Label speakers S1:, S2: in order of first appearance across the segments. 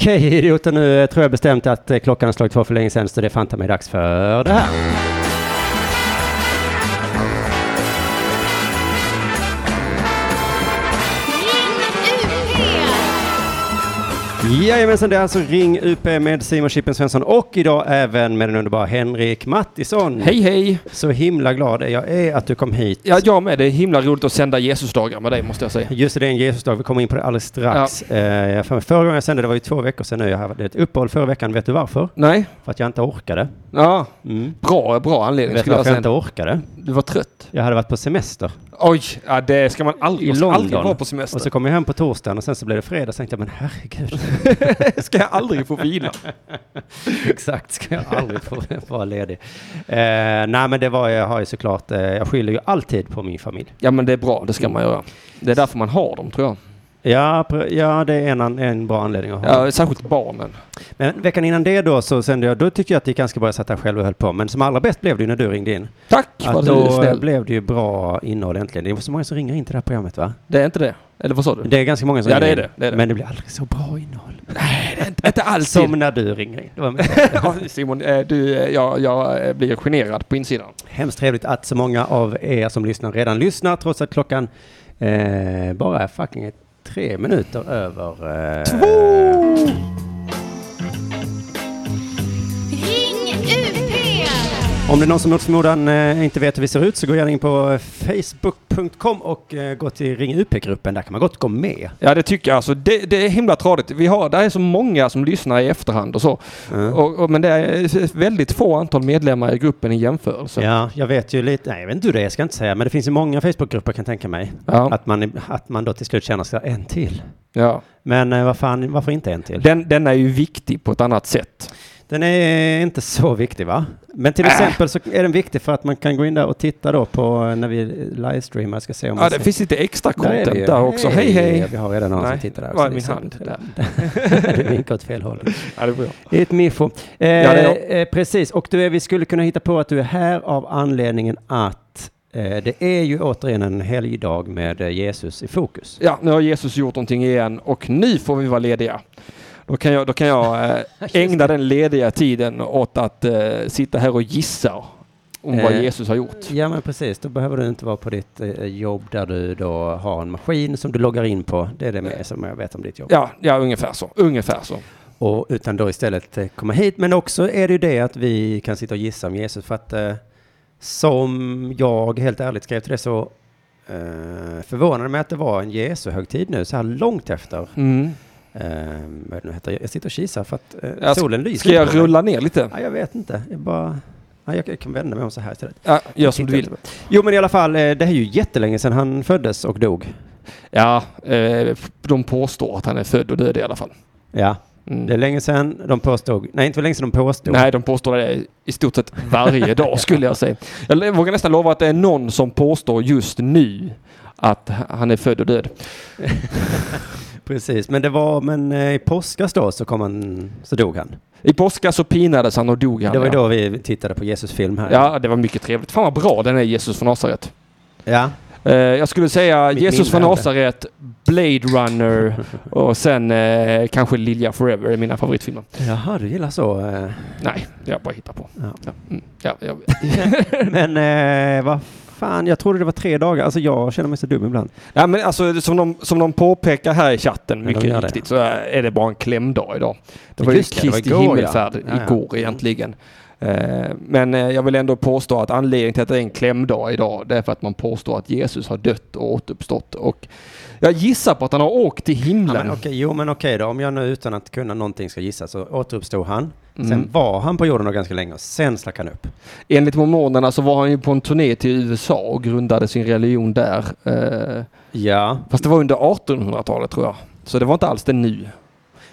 S1: Okej idioter, nu tror jag bestämt att eh, klockan har slagit två för länge sedan så det är fanta mig dags för det här. Jajamensan, det är alltså Ring UP med Simon Chippen Svensson och idag även med den underbara Henrik Mattisson.
S2: Hej hej!
S1: Så himla glad är jag är att du kom hit.
S2: Ja, jag med. Det är himla roligt att sända Jesusdagar med dig måste jag säga.
S1: Just det, det är en Jesusdag. Vi kommer in på det alldeles strax. Ja. Eh, jag får- förra gången jag sände, det var ju två veckor sedan nu. Jag hade ett uppehåll förra veckan. Vet du varför?
S2: Nej?
S1: För att jag inte orkade.
S2: Ja,
S1: Mm.
S2: bra, bra anledning
S1: Vet du
S2: skulle jag
S1: varför jag
S2: säga.
S1: inte orkade?
S2: Du var trött.
S1: Jag hade varit på semester.
S2: Oj, ja, det ska man aldrig,
S1: I
S2: man ska aldrig
S1: London.
S2: vara på
S1: Och
S2: semester.
S1: så kom jag hem på torsdagen och sen så blev det fredag. Så tänkte jag, men herregud.
S2: ska jag aldrig få vila.
S1: Exakt, ska jag aldrig få vara ledig. Eh, nej, men det var jag har ju såklart. Eh, jag skyller ju alltid på min familj.
S2: Ja men det är bra, det ska man göra. Det är därför man har dem tror jag.
S1: Ja, pr- ja det är en, an- en bra anledning att ha.
S2: Ja, särskilt barnen.
S1: Men veckan innan det då så sände jag, då tyckte jag att det gick ganska bra. Jag satt här själv och höll på. Men som allra bäst blev det ju när du ringde in.
S2: Tack vad
S1: Att
S2: du
S1: då
S2: är snäll.
S1: blev det ju bra innehåll äntligen. Det är så många som ringer in till det här programmet va?
S2: Det är inte det. Eller vad sa du?
S1: Det är ganska många som
S2: Ja, det
S1: ringer
S2: är
S1: in.
S2: det, det är det.
S1: Men det blir aldrig så bra innehåll.
S2: Inte alls.
S1: Som när du ringer in. Det var
S2: Ja, Simon, eh, du, eh, jag, jag eh, blir generad på insidan.
S1: hemskt trevligt att så många av er som lyssnar redan lyssnar trots att klockan eh, bara är fucking ett- tre minuter över... Eh, Två!
S3: Ring UP!
S1: Om det är någon som mot förmodan eh, inte vet hur vi ser ut så gå gärna in på eh, facebook.com och eh, gå till Ring UP-gruppen. Där kan man gott gå med.
S2: Ja det tycker jag alltså. Det, det är himla tradigt. Vi har, det är så många som lyssnar i efterhand och så.
S1: Mm.
S2: Och, och, men det är väldigt få antal medlemmar i gruppen i jämförelse.
S1: Ja, jag vet ju lite, nej jag vet inte hur det är, jag ska inte säga, men det finns ju många Facebookgrupper kan jag tänka mig.
S2: Ja.
S1: Att, man, att man då till slut känner sig en till.
S2: Ja.
S1: Men eh, vad fan, varför inte en till?
S2: Den, den är ju viktig på ett annat sätt.
S1: Den är inte så viktig va? Men
S2: Äh.
S1: till exempel så är den viktig för att man kan gå in där och titta då på eh, när vi livestreamar, ska se om
S2: Ja,
S1: man
S2: det
S1: ser-
S2: finns lite extra
S1: Där är
S2: content
S1: vi
S2: där,
S1: ju.
S2: också. Hej hej!
S1: Vi har redan någon som liksom-
S2: Nej,
S1: tittar där.
S2: var
S1: också,
S2: är min
S1: till exempel.
S2: hand?
S1: du vinkar åt fel håll.
S2: Ja, det är bra.
S1: Ett miffo. Eh,
S2: Ja, det är jag.
S1: eh, precis, och du är, vi skulle kunna hitta på att du är här av anledningen att eh, det är ju återigen en helgdag med eh, Jesus i fokus.
S2: ja, nu har Jesus gjort någonting igen och nu får vi vara lediga. Då kan jag, då kan jag eh, ägna den lediga tiden åt att eh, sitta här och gissa om vad
S1: Eh.
S2: Jesus har gjort.
S1: Ja men precis, då behöver du inte vara på ditt eh, jobb där du då har en maskin som du loggar in på. Det är det med, som jag vet om ditt jobb.
S2: Ja, ja ungefär så. Ungefär så.
S1: Och, utan då istället eh, komma hit. Men också är det ju det att vi kan sitta och gissa om Jesus. För att eh, som jag helt ärligt skrev till det så eh, förvånade det mig att det var en Jesu högtid nu så här långt efter
S2: Mm.
S1: Eh, vad det nu heter. Jag sitter och kisar för att eh,
S2: Ja,
S1: solen lyser.
S2: Ska
S1: på
S2: jag
S1: mig.
S2: rulla ner lite?
S1: Ja, jag vet inte. Jag, bara, ja, jag, jag kan vända mig om så här istället.
S2: Ja, gör som du vill.
S1: Jo, men i alla fall, eh, det är ju jättelänge sedan han föddes och dog.
S2: Ja, eh, de påstår att han är född och död i alla fall.
S1: Ja,
S2: Mm.
S1: det är länge sedan de påstod. Nej, inte länge sedan de påstod.
S2: Nej, de påstår det i stort sett varje dag skulle jag säga. Jag vågar nästan lova att det är någon som påstår just nu att han är född och död.
S1: Precis, men det var, men eh, i påskas då så kom han, så dog han.
S2: I påska så pinades han och dog han.
S1: det var ju
S2: ja.
S1: då vi tittade på Jesus film här.
S2: ja, det var mycket trevligt. Fan vad bra den är, Jesus från Nasaret.
S1: ja.
S2: Eh, jag skulle säga
S1: Mitt
S2: Jesus
S1: minne
S2: från
S1: hade.
S2: Nasaret, Blade Runner och sen eh, kanske Lilja Forever är mina favoritfilmer.
S1: Jaha, du gillar så. eh.
S2: Nej, det jag bara hittar på.
S1: Ja.
S2: Ja, mm, ja, jag-
S1: Men eh, vad fan, jag trodde det var tre dagar. Alltså jag känner mig så dum ibland.
S2: Ja, men alltså, som, de, som de påpekar här i chatten
S1: de gör det.
S2: mycket riktigt så är det bara en klämdag idag. Det var
S1: Just det, det
S2: ju
S1: var
S2: Kristi
S1: igår, ja.
S2: himmelfärd
S1: Ja, Mm. ja.
S2: igår egentligen. Eh, Men eh, jag vill ändå påstå att anledningen till att det är en klämdag idag det är för att man påstår att Jesus har dött och återuppstått. Och jag gissar på att han har åkt till
S1: Ja,
S2: himlen.
S1: men okej, jo men okej då, om jag nu utan att kunna någonting ska gissa så återuppstod han. Sen
S2: Mm.
S1: var han på jorden då ganska länge och sen stack han upp.
S2: Enligt mormonerna så var han ju på en turné till USA och grundade sin religion där. Eh,
S1: Ja.
S2: Fast det var under 1800-talet tror jag. Så det var inte alls det nu.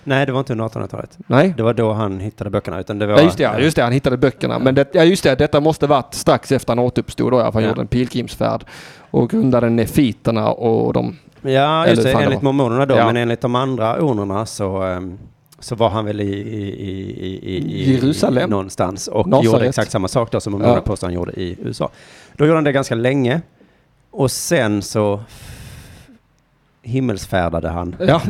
S1: Nej, det var inte under 1800-talet.
S2: Nej.
S1: Det var då han hittade böckerna, utan det var... eh,
S2: Ja, just det, ja, just det, han hittade böckerna. Men det, ja, just det, detta måste varit strax efter han återuppstod då, ja, för han
S1: Ja.
S2: gjorde en pilgrimsfärd och grundade nefiterna och de...
S1: Ja, just
S2: Eller
S1: det,
S2: fan det
S1: enligt
S2: var.
S1: mormonerna då,
S2: Ja.
S1: men enligt de andra ornerna så, ehm, så var han väl i, i, i, i, i
S2: Jerusalem.
S1: någonstans och
S2: Nasaret.
S1: gjorde exakt samma sak då som mormonerna
S2: Ja.
S1: påstår han gjorde i USA. Då gjorde han det ganska länge och sen så himmelsfärdade han.
S2: Ja,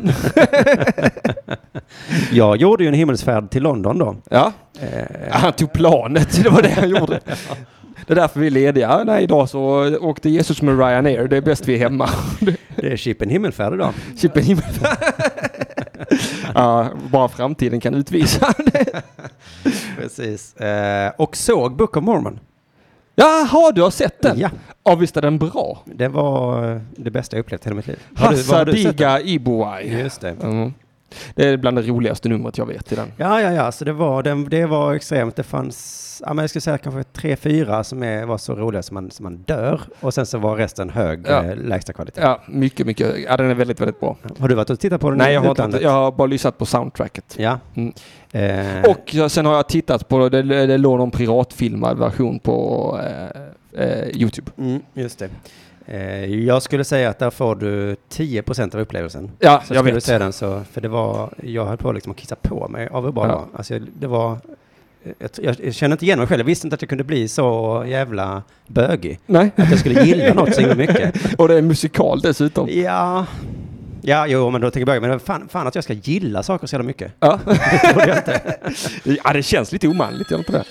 S1: Jag gjorde ju en himmelsfärd till London då.
S2: Ja,
S1: Eh,
S2: han tog planet. Det var det han gjorde. Det är därför vi är lediga. Nej, idag så åkte Jesus med Ryanair. Det är bäst vi är hemma.
S1: det är chippen himmelfärd idag.
S2: Chippen himmel. ja, bara framtiden kan utvisa.
S1: Precis. Eh, och såg Book of Mormon.
S2: Jaha, du har sett den?
S1: Ja,
S2: Ja, visst är den bra?
S1: det var eh, det bästa jag upplevt i hela mitt liv. Har du- vad har du sett
S2: Hassadiga Ibuai.
S1: den? Just det.
S2: Mm. Det är bland det roligaste numret jag vet i den.
S1: Ja, ja, ja, så det var, den, det var extremt. Det fanns, ja, men jag skulle säga kanske tre, fyra som är, var så roliga som man, som man dör. Och sen så var resten hög
S2: Ja.
S1: eh, lägsta kvalitet.
S2: Ja, mycket, mycket. Ja, den är väldigt, väldigt bra.
S1: Har du varit och tittat på den
S2: Nej,
S1: i
S2: jag har,
S1: utlandet?
S2: inte, jag har bara lyssnat på soundtracket.
S1: Ja.
S2: Mm.
S1: Eh,
S2: Och jag- sen har jag tittat på, det, det låg någon piratfilmad version på eh, eh, YouTube.
S1: mm, just det. Eh, jag skulle säga att där får du 10% av upplevelsen.
S2: Ja,
S1: Så
S2: jag
S1: skulle du
S2: vet.
S1: säga den så, för det var, jag höll på liksom att kissa på mig av hur bra det
S2: Ja.
S1: var. Alltså, jag- det var, jag, jag, jag kände inte igen mig själv, jag visste inte att jag kunde bli så jävla bögig.
S2: Nej.
S1: Att jag skulle gilla något så himla mycket.
S2: Och det är musikal dessutom.
S1: Ja, ja jo, men då tänker jag börja med, fan, fan att jag ska gilla saker så jävla mycket.
S2: Ja. ja, det känns lite omanligt, gör det inte det?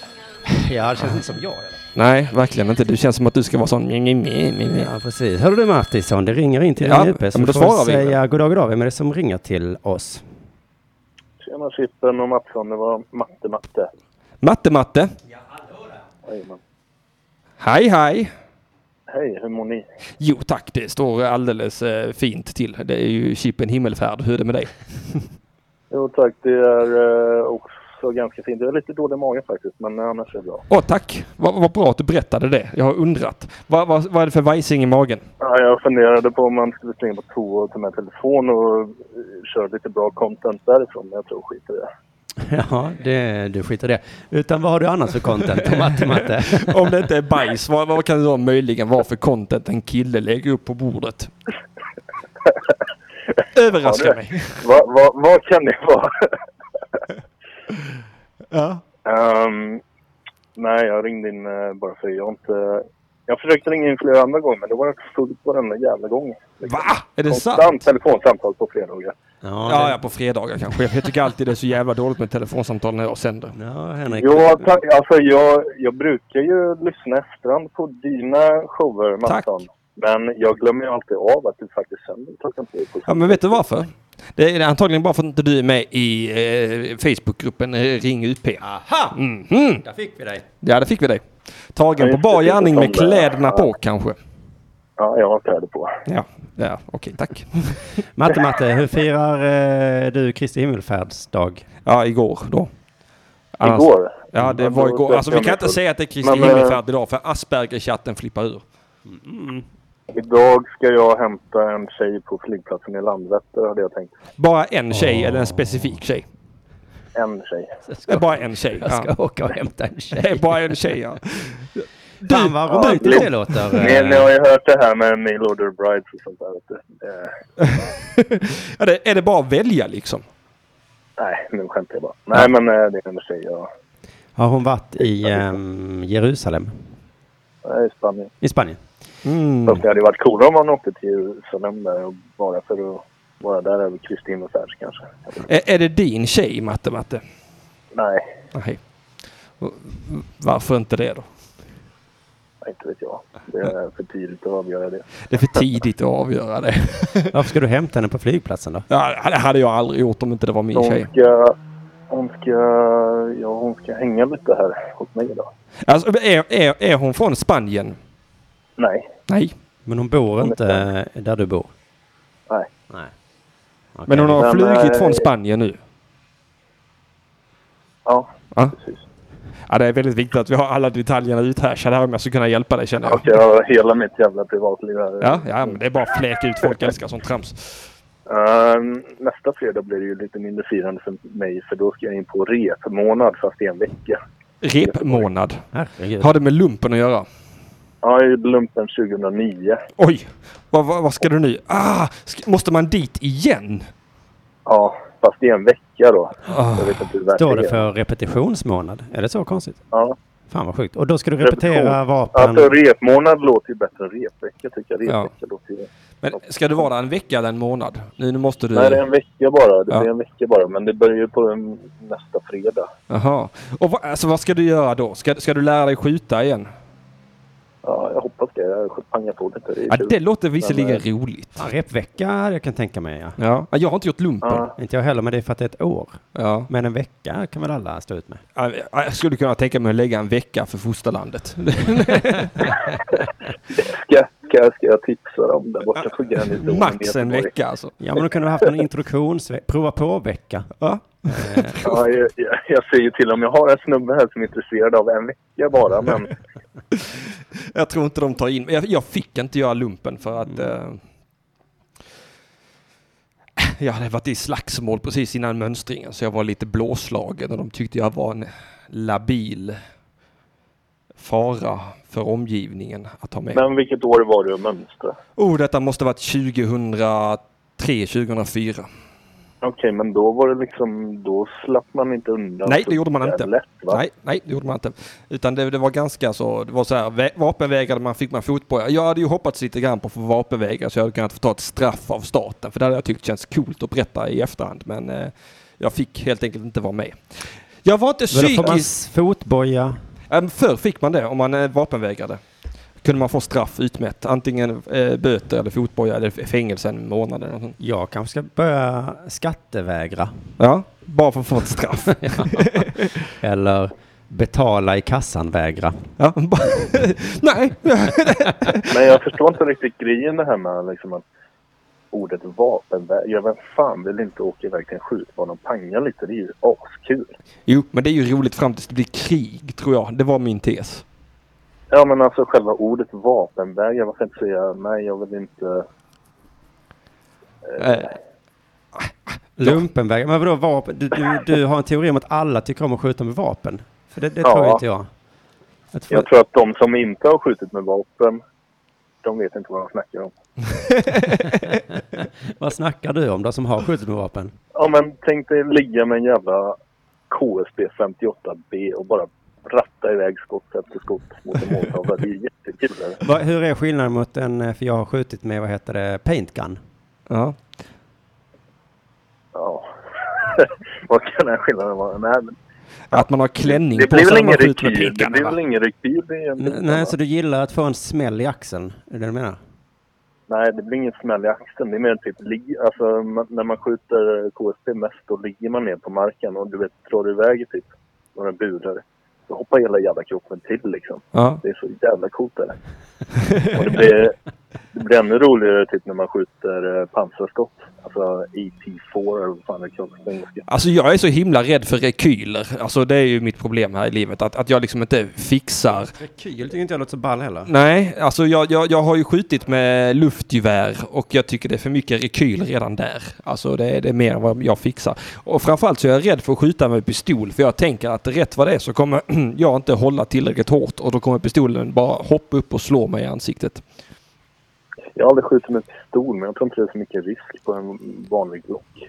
S1: Ja, det känns inte som jag. eller?
S2: Nej, verkligen inte. Det känns som att du ska vara sån...
S1: Ja, precis. Hör du Martinsson, det ringer in till
S2: Ja,
S1: din UP.
S2: ja,
S1: Så
S2: men då
S1: vi får
S2: svarar vi.
S1: säga goddag, goddag. Vem är det som ringer till oss?
S4: Tjena Chippen och Mattsson, det var Matte Matte.
S2: Matte, Matte.
S4: Jajamän.
S2: Hej, hej.
S4: Hej, hur mår ni?
S2: Jo tack, det står alldeles eh, fint till. Det är ju chippen himmelfärd. Hur är det med dig?
S4: Jo tack, det är eh, också ganska fint. Jag har lite dålig mage faktiskt, men eh, annars är det bra.
S2: Åh tack, vad vad bra att du berättade det. Jag har undrat. Vad vad- vad är det för vajsing i magen?
S4: Ja, jag funderade på om man skulle springa på toa och ta med telefon och eh, köra lite bra content därifrån, men jag tror skit i det.
S1: Ja, det, du skiter i det. Utan vad har du annars för content på Matte Matte?
S2: Om det inte är bajs, vad, vad kan det då möjligen vara för content en kille lägger upp på bordet? Överraska
S4: Ja, det-
S2: mig.
S4: Vad va, vad kan det vara?
S2: Ja.
S4: Ehm, nej, jag ringde in eh, bara för jag har inte... Jag försökte ringa in flera andra gånger, men det var fullt varenda jävla gång.
S2: Va? Är det sant?
S4: Konstant telefonsamtal på fredagar.
S2: Ja,
S1: Ja,
S2: ja, på fredagar kanske. Jag tycker alltid det är så jävla dåligt med telefonsamtal när jag sänder.
S1: det, ja Henrik.
S4: Jo, tack. alltså jag, jag brukar ju lyssna efterhand på dina shower, Mattsson. Men jag glömmer ju alltid av att du faktiskt sänder klockan tio på
S2: Ja, men vet du varför? Det är antagligen bara för att inte du är med i eh, Facebookgruppen eh, Ring UP.
S1: Aha!
S2: Mhm.
S1: Där fick vi dig.
S2: Ja, det fick vi dig.
S4: Ja,
S2: Tagen på
S4: just
S2: bar
S4: det, det är
S2: gärning med
S4: som det är.
S2: kläderna på kanske.
S4: Ja, jag har kläder på.
S2: Ja, ja okej, tack.
S1: Matte Matte, hur firar eh, du Kristi himmelfärdsdag?
S2: Ja, igår då. Annars-
S4: Igår.
S2: Alltså, Ja, det
S4: Men
S2: var
S4: då
S2: igår.
S4: släppte
S2: Alltså, vi
S4: jag
S2: kan
S4: mig
S2: inte
S4: full.
S2: säga att det är Kristi
S4: Men, eh,
S2: himmelfärd idag, för Asperger-chatten flippar ur.
S4: Idag ska jag hämta en tjej på flygplatsen i Landvetter, hade jag tänkt.
S2: Bara en tjej,
S1: Åh.
S2: eller en specifik tjej.
S4: En tjej.
S1: Jag ska,
S2: Eh, Bara en tjej.
S1: jag ska
S2: Ja.
S1: åka och hämta en
S2: Eh,
S1: tjej.
S2: Bara en tjej, ja. Du,
S1: Fan vad
S4: Ja, eh,
S1: romantiskt
S4: lite-
S1: det låter.
S2: Eh.
S4: Ni, ni har ju hört det här med mail order brides och sånt där. Vet du. Eh,
S2: ja, det, är det bara att välja liksom?
S4: nej, nu skämtar jag bara. Nej, men eh, det är en tjej. Ja.
S1: Har hon varit i ehm, Jerusalem?
S4: Nej, Spanien.
S1: I Spanien?
S2: Mm.
S4: Fast det hade ju varit coolare om man åkte till Jerusalem där och bara för att vara där över Kristi himmelsfärd kanske.
S2: Är, är det din tjej, Matte, Matte?
S4: Nej,
S2: Nej. Varför inte det då?
S4: inte vet jag. Det är för tidigt att avgöra det.
S2: Det är för tidigt att avgöra det.
S1: Varför ska du hämta henne på flygplatsen då?
S2: Ja, det hade jag aldrig gjort om inte det var min
S4: Hon
S2: tjej.
S4: ska, hon ska, ja, hon ska hänga lite här hos mig idag.
S2: Alltså, är, är, är hon från Spanien?
S4: Nej,
S2: Nej.
S1: Men hon bor inte eh, där du bor?
S4: Nej.
S1: Nej. Okej.
S2: Men hon har
S4: Men,
S2: flugit
S4: eh,
S2: från Spanien nu.
S4: ja,
S2: Ja.
S4: precis.
S2: Ja, det är väldigt viktigt att vi har alla detaljerna uthärsade här om jag ska kunna hjälpa dig känner jag.
S4: Jag ska ha hela mitt jävla privatliv här.
S2: Ja, ja, men det är bara att fläka ut. Folk älskar sånt trams.
S4: Ehm, nästa fredag blir det ju lite mindre firande för mig för då ska jag in på repmånad fast i en vecka.
S2: Repmånad.
S1: Herregud.
S2: Har det med lumpen att göra?
S4: Ja, jag gjorde lumpen 2009.
S2: Oj! Vad, vad, vad ska du nu? Ah! Ska, måste man dit igen?
S4: Ja, fast i en vecka då.
S2: Ah.
S4: Jag vet inte hur värt
S1: Står det
S4: är.
S1: för repetitionsmånad? Är det så konstigt?
S4: Ja,
S1: Fan vad sjukt. Och då ska du repetera vapen?
S4: Alltså repmånad låter ju bättre än repvecka tycker jag. Repvecka låter ju...
S2: Men ska du vara där en vecka eller en månad? Nu, nu måste du...
S4: Nej, det är en vecka bara. Det
S2: Ja.
S4: blir en vecka bara. Men det börjar ju på um, nästa fredag.
S2: Jaha. Och vad, alltså, vad ska du göra då? Ska, ska du lära dig skjuta igen?
S4: Ja, jag hoppas det. Jag pangar på lite. Det är
S2: Ja,
S4: kul.
S2: det låter visserligen
S4: Men,
S2: roligt.
S1: Ja, repvecka hade jag kan tänka mig ja.
S2: Ja. Ja, Jag har inte gjort lumpen.
S4: Ja.
S1: Inte jag heller, men det är för att det är ett år.
S2: Ja.
S1: Men en vecka kan väl alla stå ut med?
S2: Ja, Jag skulle kunna tänka mig att lägga en vecka för fosterlandet.
S4: Ska, ska, ska jag tipsa dem där borta på garnisonen? i
S2: Max en
S4: Göteborg?
S2: vecka alltså.
S1: Ja, men då kunde du haft en introduktionsvecka, prova på-vecka.
S2: Ja.
S4: Ja, jag, jag, jag säger till om jag har en snubbe här som är intresserad av en vecka bara. Men
S2: Jag tror inte de tar in Jag, jag fick inte göra lumpen för att eh, jag hade varit i slagsmål precis innan mönstringen så jag var lite blåslagen och de tyckte jag var en labil fara för omgivningen att ha med.
S4: Men vilket år var du och mönstrade?
S2: Oh, detta måste varit 2003, 2004.
S4: Okej, men då var det liksom, då slapp man inte undan.
S2: Nej,
S4: så
S2: det gjorde man
S4: där
S2: inte.
S4: Lätt, va?
S2: Nej, nej, det gjorde man inte. Utan det, det var ganska så, det var så här, vä- vapenvägrade man fick man fotboja. Jag hade ju hoppats lite grann på att få vapenvägra så jag hade kunnat få ta ett straff av staten. För det hade jag tyckt känns coolt att berätta i efterhand. Men eh, jag fick helt enkelt inte vara med. Jag var inte
S1: Men då får man
S2: psykisk...
S1: s- fotboja.
S2: Man... Förr fick man det om man eh, vapenvägrade. Kunde man få straff utmätt. Antingen eh, böter eller fotboja eller f- fängelse en månad eller något sånt.
S1: Jag kanske ska börja skattevägra.
S2: Ja, bara för att få ett straff.
S1: Eller betala i kassan-vägra.
S2: ja, bara... nej,
S4: Men jag förstår inte riktigt grejen det här med liksom att ordet vapenväg. Ja, vem fan vill inte åka iväg till en skjutbana och panga lite? Det är ju askul.
S2: Jo, men det är ju roligt fram tills det blir krig, tror jag. Det var min tes.
S4: Ja, men alltså själva ordet vapenväg. Jag varför inte säga nej, jag vill inte.
S2: Eh,
S1: Lumpenvägra. Men vadå vapen? Du, du, du har en teori om att alla tycker om att skjuta med vapen? För det, det
S4: Ja.
S1: tror inte jag. Jag tror-
S4: Jag tror att de som inte har skjutit med vapen, de vet inte vad de snackar om.
S1: Vad snackar du om då som har skjutit med vapen?
S4: Ja, men tänk dig ligga med en jävla KSB 58B och bara ratta iväg skott efter skott mot en måltavla. Det är jättekul.
S1: Va, hur är skillnaden mot en, eh, för jag har skjutit med, vad heter det, paintgun?
S2: ja.
S4: Ja. Vad kan den här skillnaden vara? Nej, men
S2: Att man har klänning
S4: det
S2: på
S4: blir
S2: sig
S4: väl
S2: när man
S4: ingen
S2: skjuter med
S4: rekyl? Det
S2: pinkarna,
S4: blir väl
S2: va?
S4: ingen rekyl i en
S1: N-
S4: bil, va?
S1: nej, så du gillar att få en smäll i axeln? Är det det du menar?
S4: Nej, det blir ingen smäll i axeln. Det är mer typ, ligg- alltså, ma- när man skjuter KSB mest, då ligger man ner på marken och du vet, drar du iväg i typ några burar, så hoppar hela jävla kroppen till liksom.
S2: Ja.
S4: Det är så jävla coolt är det. Och det blir, det blir ännu roligare typ när man skjuter eh, pansarskott. Alltså AT4 eller vad fan det kallas på engelska.
S2: Alltså jag är så himla rädd för rekyler. Alltså det är ju mitt problem här i livet. Att, att jag liksom inte fixar.
S1: Rekyl tycker inte jag låter så ball heller.
S2: Nej, alltså jag, jag, jag har ju skjutit med luftgevär och jag tycker det är för mycket rekyl redan där. Alltså det, är- det är mer än vad jag fixar. Och framförallt så är jag rädd för att skjuta med pistol för jag tänker att rätt vad det är så kommer jag inte hålla tillräckligt hårt och då kommer pistolen bara hoppa upp och slå mig i ansiktet.
S4: Jag har aldrig skjutit med pistol, men jag tror inte det är så mycket risk på en vanlig Glock.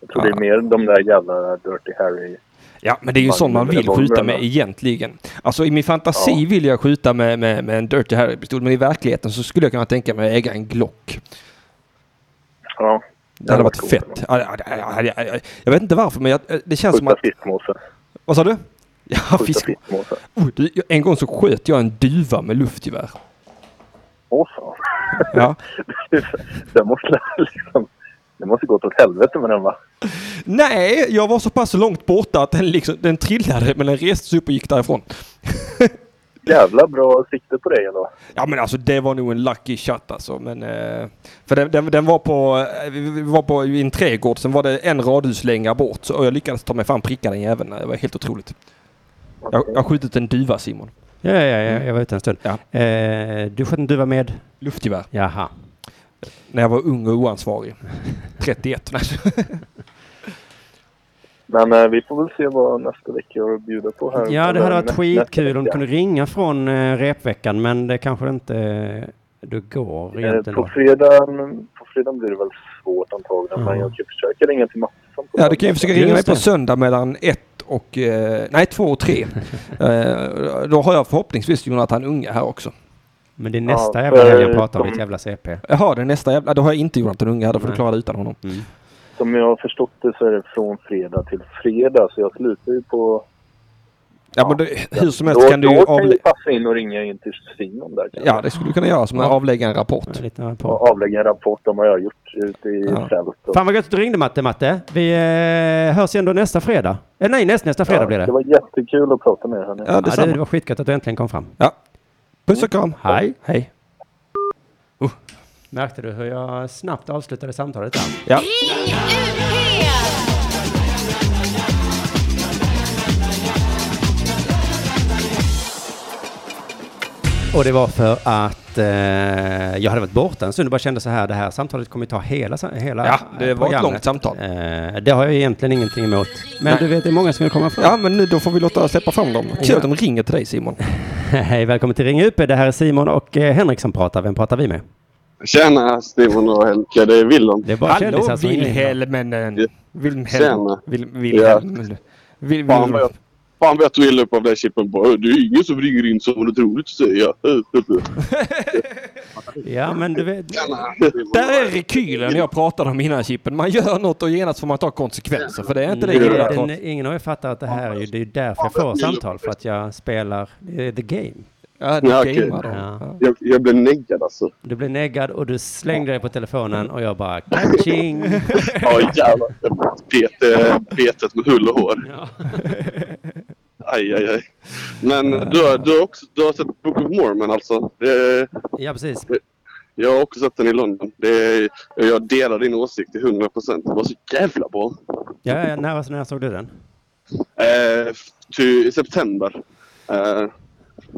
S4: Jag tror det är mer de där jävla Dirty Harry.
S2: Ja, men det är ju en sån man vill skjuta med
S4: Ja.
S2: egentligen. Alltså i min fantasi
S4: Ja.
S2: vill jag skjuta med, med, med en Dirty Harry-pistol men i verkligheten så skulle jag kunna tänka mig att äga en Glock.
S4: Ja.
S2: Det hade varit
S4: coolt.
S2: fett. Ja, ja, ja, ja, ja. Jag vet inte varför men jag, det känns som
S4: Skjuta
S2: att...
S4: fiskmåsar.
S2: Vad sa du? Ja,
S4: Skjuta
S2: fisk.
S4: fiskmåsar.
S2: Oh, du, jag- en gång så sköt jag en duva med luftgevär.
S4: Åh fan.
S2: Ja.
S4: det måste liksom... Det måste gått åt helvete med den va?
S2: Nej, jag var så pass långt borta att den, liksom, den trillade men den reste sig upp och gick därifrån.
S4: Jävla bra sikte på dig ändå.
S2: Ja men alltså det var nog en lucky shot alltså. Men, eh, för den, den, den var på, eh, vi vi var på i en trädgård, sen var det en radhuslänga bort. Så, och jag lyckades ta mig fram pricka den jäveln. Det var helt otroligt. Jag jag har skjutit en duva Simon.
S1: Ja, ja, ja, jag var ute en stund.
S2: Ja.
S1: Eh, du sköt en duva med?
S2: Luftgevär.
S1: Jaha.
S2: När jag var ung och oansvarig. 31. Nej.
S4: Men eh, vi får väl se vad nästa vecka har att bjuda på här.
S1: Ja, det hade
S4: Eller
S1: varit
S4: nästa
S1: skitkul om du
S4: vecka.
S1: kunde ringa från eh, repveckan, men det kanske inte eh, du går
S4: Eh,
S1: egentligen.
S4: På
S1: då.
S4: fredagen, på fredagen blir det väl svårt antagligen, men jag kan försöka typ ringa till Mattsson. på
S2: Ja, du kan ju
S4: lördag.
S2: försöka ringa mig
S1: Just
S2: på
S1: det.
S2: söndag mellan 1 och... Eh, nej, två och tre. eh, då har jag förhoppningsvis Jonathan Unge här också.
S1: Men det är nästa
S4: Ja,
S1: jävla helg jag
S4: för-
S1: pratar om,
S4: de-
S1: ditt jävla CP.
S2: Jaha, det är nästa jävla... Då har jag inte Jonathan Unge här, då får du
S1: Nej.
S2: klara dig utan honom.
S1: Mm.
S4: Som jag har förstått det så är det från fredag till fredag, så jag slutar ju på...
S2: Ja,
S4: Ja.
S2: men du, hur som helst
S4: då
S2: kan du
S4: då
S2: ju
S4: kan jag ju
S2: avlägga...
S4: passa in och ringa in till Simon där. kanske.
S2: Ja, det skulle du kunna göra som att
S1: Ja.
S2: avlägga en rapport.
S1: En liten på.
S4: Och avlägga en rapport om vad jag har gjort ute i
S2: Ja.
S4: fält. Och...
S1: Fan vad gött att du ringde Matte, Matte. Vi eh, hörs igen då nästa fredag. Eh, nej, näst, nästa fredag blir det.
S4: Det var jättekul att prata med er. hörni.
S1: Ja,
S2: Ja,
S1: det, det
S2: detsamma.
S1: var skitgött att du äntligen kom fram.
S2: Ja. Puss och kram.
S1: Hej.
S2: Hej.
S1: Märkte du hur jag snabbt avslutade samtalet där?
S2: Ja.
S3: Ring UP!
S1: Och det var för att eh, jag hade varit borta en stund och bara kände så här, det här samtalet kommer ju ta hela, sa- hela
S2: Ja, det
S1: eh,
S2: var ett
S1: programmet.
S2: långt samtal.
S1: Eh, det har jag egentligen ingenting emot. Men
S2: Nej.
S1: du vet, det är många som vill komma fram.
S2: Ja, men nu då får vi låta släppa fram dem. Kul att de ringer till dig Simon.
S1: Hej, välkommen till Ring UP. Det här är Simon och eh, Henrik som pratar. Vem pratar vi med?
S5: Tjena Simon och Henke, det är Willem.
S1: Det är bara kändisar som ringer.
S2: Wilhelmen. eh, Wilhelm.
S5: Tjena.
S2: Wil- Wilhelm. Vil-
S5: Fan vad
S2: Wil-
S5: jag, fan vad jag tog illa upp av det här chippen på. Det är ingen som ringer in som det är roligt att säga.
S1: Ja, men du vet.
S2: Där är rekylen jag pratade om innan Chippen. Man gör något och genast får man ta konsekvenser. För det är inte det
S1: Nej,
S5: Mm.
S2: jag
S1: den,
S2: pratar
S1: ingen har ju fattat att det här är ju, det är ju därför jag får samtal, för att jag spelar eh, the game.
S2: Ja,
S5: Ja,
S2: det
S5: okej.
S2: gamear de.
S1: Ja.
S2: Ja.
S5: Jag, jag blev neggad alltså.
S1: Du blev neggad och du slängde dig på telefonen och jag bara kaching.
S5: Ja jävlar. Bet, eh, betet med hull och hår.
S1: Ja.
S5: Aj aj aj. Men du, har- du, har, också, du har sett Book of Mormon alltså. Det,
S1: ja, precis.
S5: jag har också sett den i London. Det, jag delar din åsikt till 100%. Det var så jävla bra.
S1: Ja, ja, när, när såg du den?
S5: Eh, ty, I september. Eh,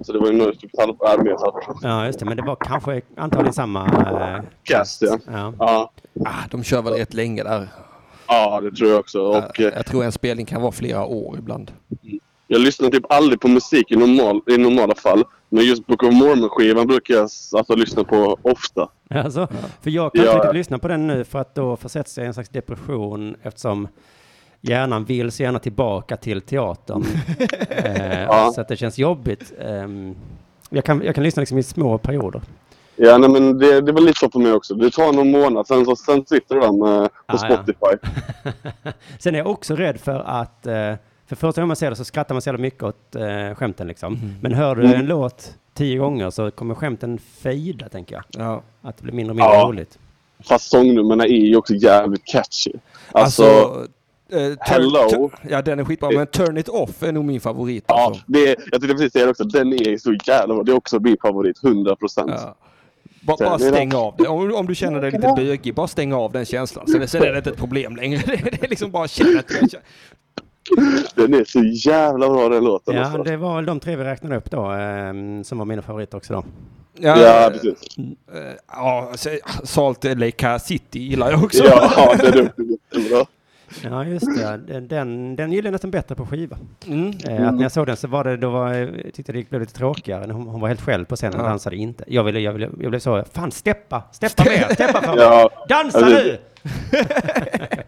S5: så det var ju nu typ ett halvår, äh, mer än ett halvår.
S1: Ja, just det. Men det var kanske antagligen samma... eh,
S5: Cast ja.
S1: ja.
S5: Ja,
S2: Ah, de kör väl rätt länge där.
S5: ja det tror jag också. Och, eh,
S2: jag tror en spelning kan vara flera år ibland.
S5: jag lyssnar typ aldrig på musik i, normal, i normala fall. Men just Book of Mormon-skivan brukar jag s- alltså, lyssna på ofta.
S1: Alltså, för jag kan inte
S5: Ja.
S1: riktigt lyssna på den nu för att då försätts jag i en slags depression eftersom hjärnan vill så gärna tillbaka till teatern. eh,
S5: Ja.
S1: Så att det känns jobbigt. Ehm, jag, kan, jag kan lyssna liksom i små perioder.
S5: Ja, nej, men det, det var lite så på mig också. Det tar någon månad, sen, så, sen sitter du där med, på
S1: Ah, ja.
S5: Spotify.
S1: Sen är jag också rädd för att, eh, för första gången man ser det så skrattar man så jävla mycket åt eh, skämten liksom. Men hör du
S5: Mm.
S1: en låt tio gånger så kommer skämten fejda, tänker jag.
S2: Ja.
S1: Att det blir mindre och mindre
S5: Ja.
S1: roligt.
S5: Fast sångnumren är ju också jävligt catchy. Alltså,
S2: Alltså... eh, turn-
S5: Hello.
S2: tu- Ja, den är skitbra. Men Turn It Off är nog min favorit.
S5: ja,
S2: alltså.
S5: det, jag tänkte precis säga det också. Den är så jävla bra. Det är också min favorit, 100%.
S2: Ja. Bara,
S5: Sen
S2: bara
S5: är det-
S2: stäng av det. Om, om du känner dig lite bögig, bara stäng av den känslan. Sen, sen är det inte ett problem längre. Det, är- det är liksom bara känna att jag känner.
S5: Den är så jävla bra den låten.
S1: Ja,
S5: alltså.
S1: det var väl de tre vi räknade upp då, ehm, som var mina favoriter också då.
S2: Ja,
S5: ja, precis.
S2: eh, ja, se- Salt Lake City gillar jag också.
S5: Ja, den är jättebra.
S1: Ja, just det. Den, den, den gillade jag nästan bättre på skiva.
S2: Mm.
S1: Eh, att när jag såg den så var det, då var, jag tyckte det blev lite tråkigare. Hon, hon var helt själv på scenen och
S2: Ja.
S1: dansade inte. Jag, ville, jag, ville, jag blev så, fan steppa, steppa mer, steppa för mig.
S5: Ja,
S1: Dansa
S5: Alltså,
S1: nu!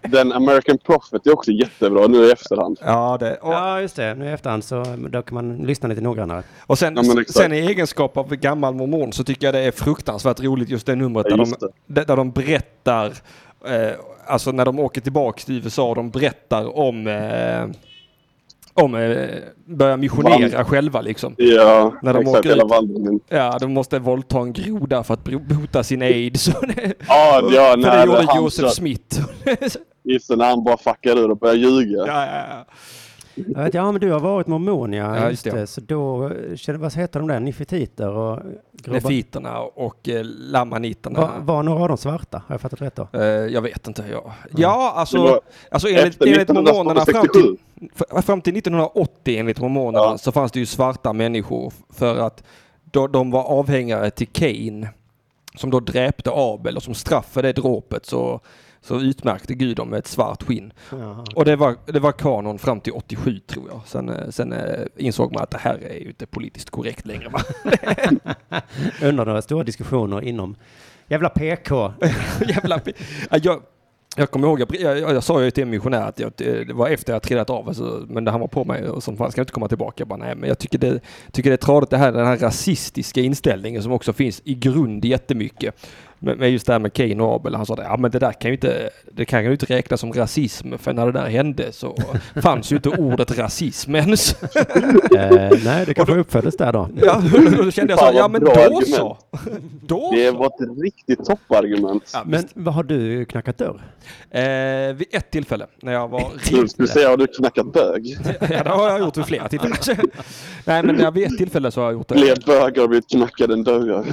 S5: den American Prophet är också jättebra nu i efterhand.
S2: Ja, det. Och,
S1: Ja, just det. Nu i efterhand så då kan man lyssna lite noggrannare.
S2: och sen,
S5: Ja, men exakt.
S2: sen i egenskap av gammal mormon så tycker jag det är fruktansvärt roligt just det numret
S5: Ja,
S2: där,
S5: just
S2: de, där de berättar, eh, alltså när de åker tillbaka till USA, de berättar om, eh, om eh, börja missionera själva liksom.
S5: Ja,
S2: När de
S5: exakt.
S2: åker
S5: Hela
S2: ut.
S5: vandringen.
S2: Ja, de måste våldta en groda för att bro- bota sin aids.
S5: Ja, ja,
S2: för det
S5: när
S2: gjorde
S5: han,
S2: Josef Smith.
S5: just det, när han bara fuckar ur och börjar ljuga.
S2: ja, ja, ja.
S1: Jag vet, ja, men du har varit mormon, ja.
S2: Ja,
S1: just
S2: just det.
S1: det. Så då, eh, känner- vad heter de där, nifititer och grubbar?
S2: Nefiterna och eh, lamaniterna.
S1: Var, var några av dem svarta? Har jag fattat rätt då?
S2: Eh, jag vet inte. Ja, ja alltså,
S5: Det var
S2: alltså enligt,
S5: efter
S2: enligt mormonerna fram till,
S5: 1967.
S2: f- fram till 1980 enligt mormonerna
S5: Ja.
S2: så fanns det ju svarta människor för att då, de var avhängare till Kain som då dräpte Abel och som straff för det dråpet så, så utmärkte Gud dem med ett svart skinn.
S1: Jaha.
S2: Och det var, det var kanon fram till 87 tror jag. Sen, eh, sen eh, insåg man att det här är ju inte politiskt korrekt längre. Va?
S1: Undrar några stora diskussioner inom jävla Eh, PK.
S2: Jävla... pi- Ja, Jag, Jag kommer ihåg, jag, jag, jag sa ju till en missionär att jag, det var efter jag trillat av, alltså, men han var på mig och som fan ska jag inte komma tillbaka. Jag bara, nej, men jag tycker det, tycker det är tradigt det här, den här rasistiska inställningen som också finns i grund jättemycket. Men, men just det här med Cain och Abel, han sa det, ja men det där kan ju inte, det kan ju inte räknas som rasism, för när det där hände så fanns ju inte ordet rasism ens.
S1: Eh, nej, det kanske uppföddes där då.
S2: Ja, och då kände jag så, här,
S5: Fan, vad
S2: ja men
S5: bra
S2: då
S5: argument.
S2: så. Då
S5: Det
S2: så.
S5: var ett riktigt toppargument.
S2: Ja,
S1: Men vad har du knackat dörr?
S2: Eh, vid ett tillfälle när jag var
S5: Du skulle säga har du knackat bög?
S2: Ja, det har jag gjort vid flera tillfällen. Nej, men jag vid ett tillfälle så har jag gjort det.
S5: Blev bögar och blivit knackade en dörrar.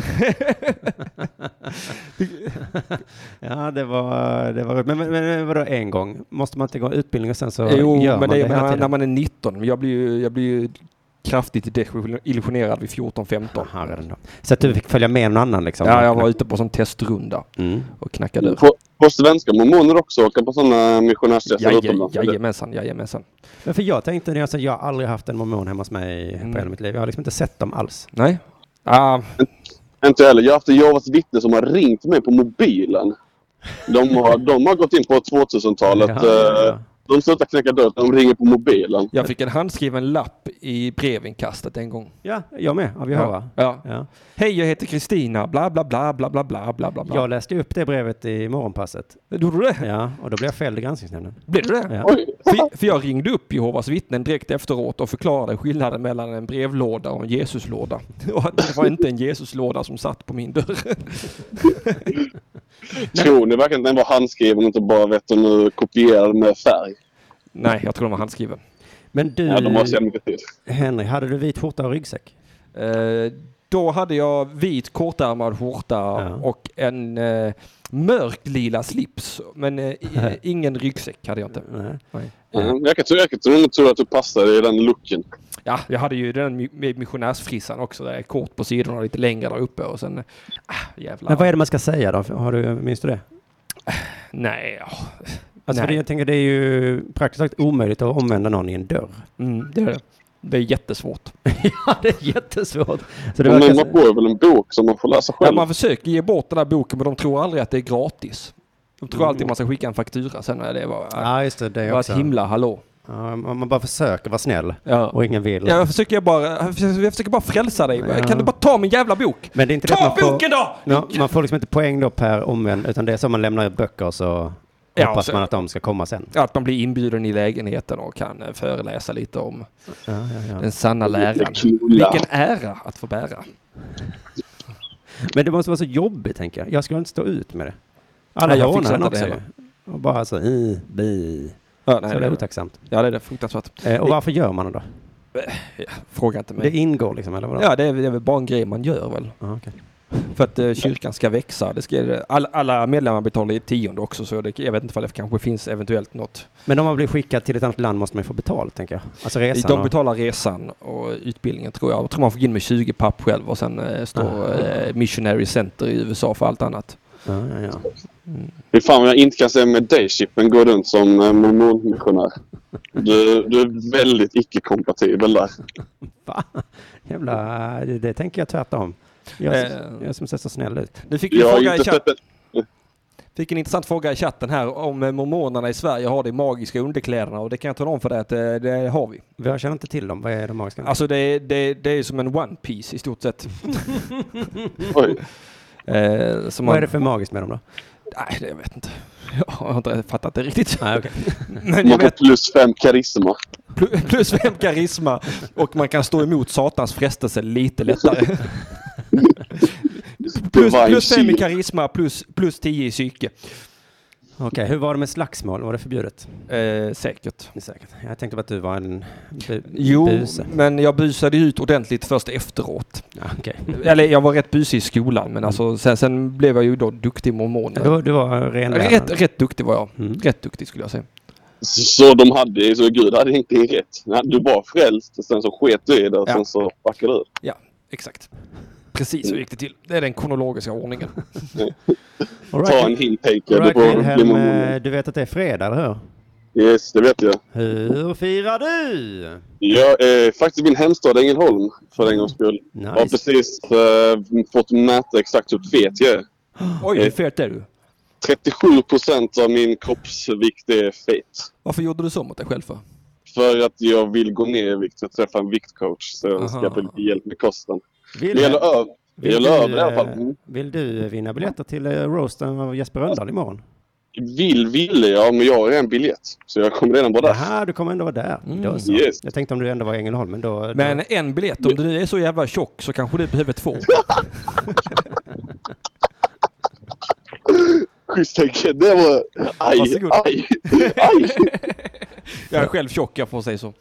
S1: Ja, det var, det var roligt. Men, men, men vadå en gång? Måste man inte gå utbildning och sen så
S2: Jo,
S1: gör
S2: men
S1: man
S2: det är
S1: hela
S2: när,
S1: tiden?
S2: när man är 19. Men Jag blir ju, jag blir ju kraftigt desillusionerad vid 14-15.
S1: Aha, redan då. Så att du fick följa med någon annan liksom?
S2: Ja, jag var ute på sån testrunda
S1: Mm.
S2: och knackade ur.
S5: På, på svenska mormoner också åka på sådana missionärsresor
S2: Jaje-
S5: utomlands.
S2: Jajamensan, jajamensan.
S1: Men för jag tänkte det, alltså, jag har aldrig haft en mormon hemma hos mig
S2: Mm.
S1: på hela mitt liv. Jag har liksom inte sett dem alls.
S2: Nej. Ah,
S5: Inte heller. Jag har haft Jehovas vittnen som har ringt mig på mobilen. De har, de har gått in på 2000-talet.
S1: Ja, ja, ja.
S5: eh, De slutar knäcka dörr, de ringer på mobilen.
S2: jag fick en handskriven lapp i brevinkastet en gång.
S1: Ja, jag med, av Jehova.
S2: Ja.
S1: Ja.
S2: Hej, jag heter Kristina. Bla, bla, bla, bla, bla, bla, bla, bla.
S1: Jag läste upp det brevet i morgonpasset.
S2: Gjorde du det?
S1: Ja, och då blev jag fälld i granskningsnämnden.
S2: Blev du det?
S1: Ja.
S5: Oj!
S2: För, för jag ringde upp Jehovas vittnen direkt efteråt och förklarade skillnaden mellan en brevlåda och en Jesuslåda. Och att det var inte en Jesuslåda som satt på min dörr.
S5: Tror ni verkligen att den var handskriven och inte bara vet du, kopierad med färg?
S2: Nej, jag tror den var handskriven.
S1: Men du,
S5: Ja, de har så jävla mycket tid.
S1: Henry, hade du vit skjorta och ryggsäck?
S2: Eh, då hade jag vit kortärmad skjorta och en eh, mörkt lila slips. Men eh, i- ingen ryggsäck hade jag inte.
S1: Nej.
S5: Mm. Jag kan tro, jag kan tro, jag tror att du passar i den looken.
S2: Ja, jag hade ju den mi- med missionärsfrissan också. Där, kort på sidorna och lite längre där uppe. Och sen, eh, ah, jävlar.
S1: Men vad är det man ska säga då? Har du, minns du det?
S2: Nej, ja.
S1: Alltså för det,
S2: Nej.
S1: jag tänker det är ju praktiskt taget omöjligt att omvända någon i en dörr.
S2: Mm, det är det. Det är jättesvårt.
S1: ja, det är jättesvårt. Så det
S5: Men
S1: verkar...
S5: man får väl en bok som man får läsa
S2: Ja,
S5: själv.
S2: man försöker ge bort den här boken men de tror aldrig att det är gratis. De tror alltid man ska skicka en faktura sen. när Det var,
S1: Mm. Ja, just det.
S2: det
S1: Det
S2: var
S1: också.
S2: ett himla hallå.
S1: Ja, man man bara försöker vara snäll
S2: Ja.
S1: och ingen vill.
S2: Ja, Jag försöker bara, jag försöker jag försöker bara frälsa dig.
S1: Ja.
S2: Kan du bara ta min jävla bok?
S1: Men det är inte det
S2: Ta
S1: att man
S2: boken
S1: får...
S2: då!
S1: Ja, man får liksom inte poäng då per omvänd, utan det är så man lämnar ut böcker och så
S2: Ja,
S1: hoppas
S2: så-
S1: man att de ska komma sen.
S2: Att man blir inbjuden i lägenheten och kan eh, föreläsa lite om
S1: Ja, ja, ja.
S2: den sanna läran.
S5: Knulla.
S2: Vilken ära att få bära.
S1: Men det måste vara så jobbigt, tänker jag. Jag skulle inte stå ut med det. Alla
S2: Nej, jag
S1: jag
S2: fixar
S1: ordnar
S2: inte
S1: också.
S2: det heller.
S1: ju. Och bara så, i, bi.
S2: Ja,
S1: Så
S2: nej,
S1: det är
S2: det,
S1: otacksamt.
S2: ja, det är det. Fruktansvärt.
S1: Eh, och varför gör man det då?
S2: Fråga inte
S1: Det
S2: mig.
S1: ingår liksom, eller vadå?
S2: Ja, det är det är väl bara en grej man gör väl.
S1: Ah, okej.
S2: För att eh, kyrkan ska växa. Det ska, all, alla medlemmar betalar i tionde också så det, jag vet inte ifall det kanske finns eventuellt något.
S1: Men om man blir skickad till ett annat land måste man ju få betalt, tänker jag. Alltså resan.
S2: De betalar resan och utbildningen tror jag. Jag tror man får gå in med 20 papp själv och sen eh,
S1: Ah.
S2: står eh, Missionary Center i USA för allt annat.
S1: och... ja, ja, ja.
S5: Fy fan vad jag inte kan se med dig Chippen gå runt som eh, mormonmissionär. Du, du är väldigt icke-kompatibel där.
S1: Va? Jävla, det, det tänker jag tvärtom. Jag,
S2: Eh.
S1: jag som ser så snäll ut.
S2: Nu fick vi
S5: Jag har
S2: fråga i
S5: inte
S2: chatt,
S5: sett en...
S2: fick en intressant fråga i chatten här om eh, mormonerna i Sverige har de magiska underkläderna och det kan jag tala om för dig att eh, det har vi.
S1: Jag känner inte till dem. Vad är de magiska?
S2: Alltså det, är- det, är- det är som en one piece i stort sett.
S5: Oj.
S2: Eh, som man,
S1: Vad är det för magiskt med dem då?
S2: Nej, det jag vet inte. Jag har inte fattat det riktigt.
S1: Nej, okej.
S2: Men jag
S5: Man får
S2: vet
S5: plus fem karisma.
S2: Plu- Plus fem karisma och man kan stå emot Satans frestelse lite lättare. Plus, plus fem i karisma, plus, plus tio i psyke.
S1: Okej, hur var det med slagsmål? Var det förbjudet?
S2: Eh, säkert.
S1: Det är säkert. Jag tänkte på att du var en bu-
S2: Jo,
S1: buse.
S2: men jag busade ut ordentligt först efteråt.
S1: Ja, okej.
S2: Eller jag var rätt busig i skolan, men alltså, sen, sen blev jag ju då duktig mormon.
S1: Du, var- du var renlärd.
S2: Rätt, rätt duktig var jag.
S1: Mm.
S2: Rätt duktig skulle jag säga.
S5: Så de hade, så Gud hade inte rätt. Nej, Du var frälst och sen så sket du i det och
S2: Ja.
S5: sen så fuckade du.
S2: Ja, exakt. Precis så gick det till. Det är den kronologiska ordningen.
S1: All right.
S5: Ta en hint Heike.
S1: All
S5: Du
S1: right,
S5: får bli
S1: Wilhelm,
S5: mormon.
S1: eh, du vet att det är fredag, eller hur?
S5: Yes, det vet jag.
S1: Hur firar du?
S5: Jag är faktiskt min hemstad Ängelholm för en gångs skull. Jag har
S1: Nice.
S5: precis eh, fått mäta exakt hur fet jag är.
S2: Oj, hur fet är du?
S5: 37 procent av min kroppsvikt är fet.
S2: Varför gjorde du så mot dig själv för?
S5: För att jag vill gå ner i vikt. Jag träffar en viktcoach så jag ska
S2: Aha.
S5: få lite hjälp med kosten.
S1: Vill,
S5: Det gäller över. Det
S1: vill,
S5: gäller över
S1: du,
S5: i alla fall.
S1: eh,
S5: Mm.
S1: vill du vinna biljetter till eh, roasten av Jesper Rönndahl imorgon?
S5: Vill, ville jag, men jag har en biljett. Så jag kommer redan vara där.
S1: Jaha, du kommer ändå vara där. Då så.
S5: Yes.
S1: Jag tänkte om du ändå var i Ängelholm, men då...
S2: Mm. Men
S1: då
S2: en biljett, om du nu är så jävla tjock så kanske du behöver två.
S5: Schysst tänker jag. Det var... Aj,
S2: Varsågod.
S5: aj, aj!
S2: Jag är själv tjock, jag får säga så.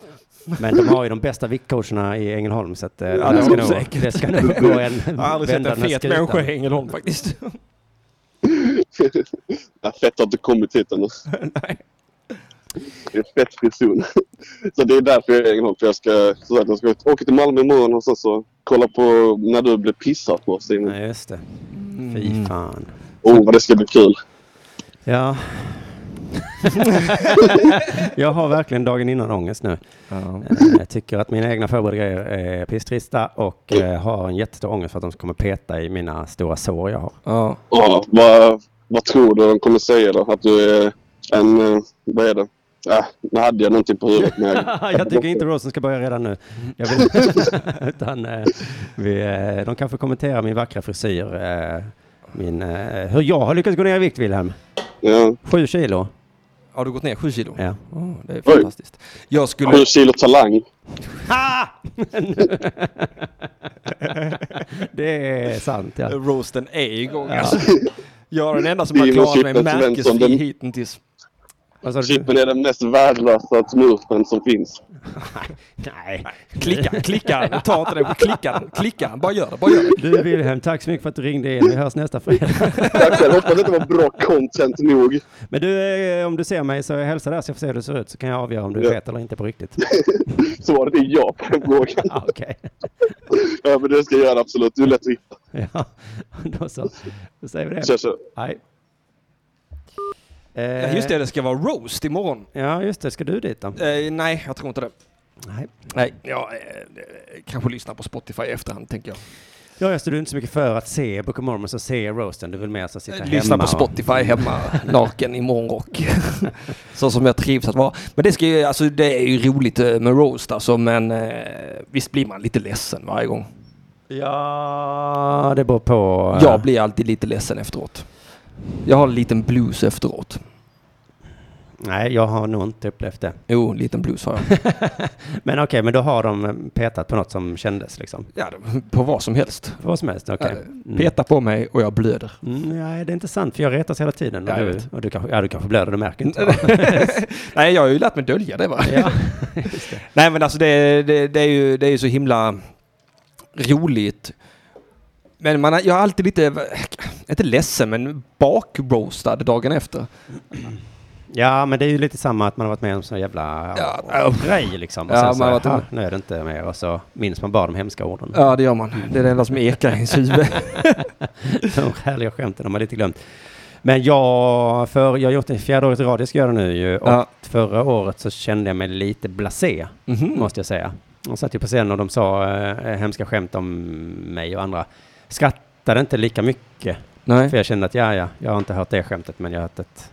S1: men de har ju de bästa viktcoacherna i Ängelholm, så att, eh,
S2: Ja,
S1: det,
S2: det
S1: ska
S2: har de
S1: nog,
S2: säkert.
S1: det ska nog gå en
S2: Jag har aldrig
S1: vända
S2: sett en
S1: den här
S2: fet
S1: skutan.
S2: människa i Ängelholm faktiskt.
S5: Nej, fett har inte kommit hit ännu.
S2: Nej.
S5: Det är fett frizon. Så det är därför jag är i Ängelholm. För jag ska, som sagt, jag ska åka till Malmö imorgon och sen så kolla på när du blir pissad på Simon.
S1: Nej, just det.
S2: Mm.
S1: Fy fan.
S5: Åh, vad det ska bli kul.
S1: Ja. jag har verkligen dagen innan ångest nu.
S2: Ja.
S1: Eh, Jag tycker att mina egna förberedda grejer är pisstrista och eh, har en jättestor ångest för att de kommer peta i mina stora sår jag har.
S2: Ja.
S5: Ja, vad, vad tror du de kommer säga då? Att du är en... eh, Vad är det? Äh, nu hade jag någonting på huvudet. Men jag,
S1: jag tycker inte Rosen ska börja redan nu. Jag vill, utan, eh, vi, eh, de kanske kommenterar min vackra frisyr. Eh, min, eh, hur jag har lyckats gå ner i vikt, Wilhelm.
S5: ja.
S1: Sju kilo.
S2: Har du gått ner sju kilo?
S1: Ja.
S2: Åh, det är
S5: Oj.
S2: fantastiskt. Jag skulle...
S5: Sju kilo talang.
S1: Det är sant, ja.
S2: Roasten är igång alltså. Jag är den enda som har
S5: Simon
S2: klarat mig
S5: Chippen Svensson,
S2: märkesfri
S5: den-
S2: hittills.
S1: Vad sa du?
S5: Chippen är den mest värdelösa smurfen som finns.
S1: Nej.
S2: Klicka, klicka, ta inte det på klickan, klickan, bara gör det, bara gör det.
S1: Du Wilhelm, tack så mycket för att du ringde in. Vi hörs nästa fredag.
S5: Tack själv. Hoppas det var bra content nog.
S1: Men du, eh, om du ser mig så hälsa där så jag får se hur du ser ut så kan jag avgöra om du är
S5: Ja.
S1: fet eller inte på riktigt.
S5: Svaret är ja på den frågan.
S1: Ja, Okej.
S5: Ja, men det ska jag göra absolut. Du är lätt att hitta.
S1: Ja, då så. Då säger vi
S5: Kör,
S1: det.
S5: kör.
S1: Hej.
S2: Ja,
S1: Eh,
S2: Just det, det ska vara roast imorgon.
S1: Ja, just det. Ska du dit då?
S2: Eh, nej, jag tror inte det.
S1: Nej.
S2: Nej, jag eh, kanske lyssnar på Spotify i efterhand, tänker jag.
S1: Ja, just det. Du är inte så mycket för att se Book of Mormons och se roasten. Du vill mer så sitta
S2: Eh, Lyssna
S1: hemma.
S2: på Spotify hemma, naken i morgonrock. så som jag trivs att vara. Men det, ska ju, alltså, det är ju roligt eh, med roast alltså, men eh, visst blir man lite ledsen varje gång.
S1: Och... Ja, det beror på. eh,
S2: Jag blir alltid lite ledsen efteråt. Jag har en liten blues efteråt.
S1: Nej, jag har nog inte upplevt det.
S2: Jo, en liten blues har jag.
S1: Men okej, men då har de eh, petat på något som kändes liksom.
S2: ja, det- på vad som helst.
S1: För vad som helst, okej.
S2: Ja,
S1: Mm.
S2: Peta på mig och jag blöder.
S1: Mm, Nej, det är inte sant, för jag retas hela tiden. Och
S2: Ja, jag
S1: du,
S2: vet. Mm,
S1: och du, kanske, ja, du kanske blöder, du märker inte. va?
S2: Nej, jag har ju lärt mig dölja det va.
S1: ja.
S2: Nej men alltså det, det, det är ju det är ju så himla roligt. Men man, har- jag är alltid lite, inte ledsen men bakroastad dagen efter.
S1: ja, men det är ju lite samma att man har varit med om sån jävla
S2: Ja,
S1: ja, grej liksom. Och
S2: Ja,
S1: sen så,
S2: man har varit
S1: "Ah,
S2: med."
S1: nu är det inte mer. Och så minns man bara de hemska orden.
S2: Ja det gör man. Det är det enda som ekar i ens huvud.
S1: De härliga skämten de har lite glömt. Men jag, för, jag har gjort det fjärde året i rad, det ska jag göra nu ju. Och
S2: Ja.
S1: förra året så kände jag mig lite blasé,
S2: Mhm. Mm. Mm-hmm.
S1: måste jag säga. Jag satt ju på scenen och de sa eh, hemska skämt om mig och andra. Skrattade inte lika mycket.
S2: Nej.
S1: För jag kände att ja, ja, jag har inte hört det skämtet, men jag har hört ett,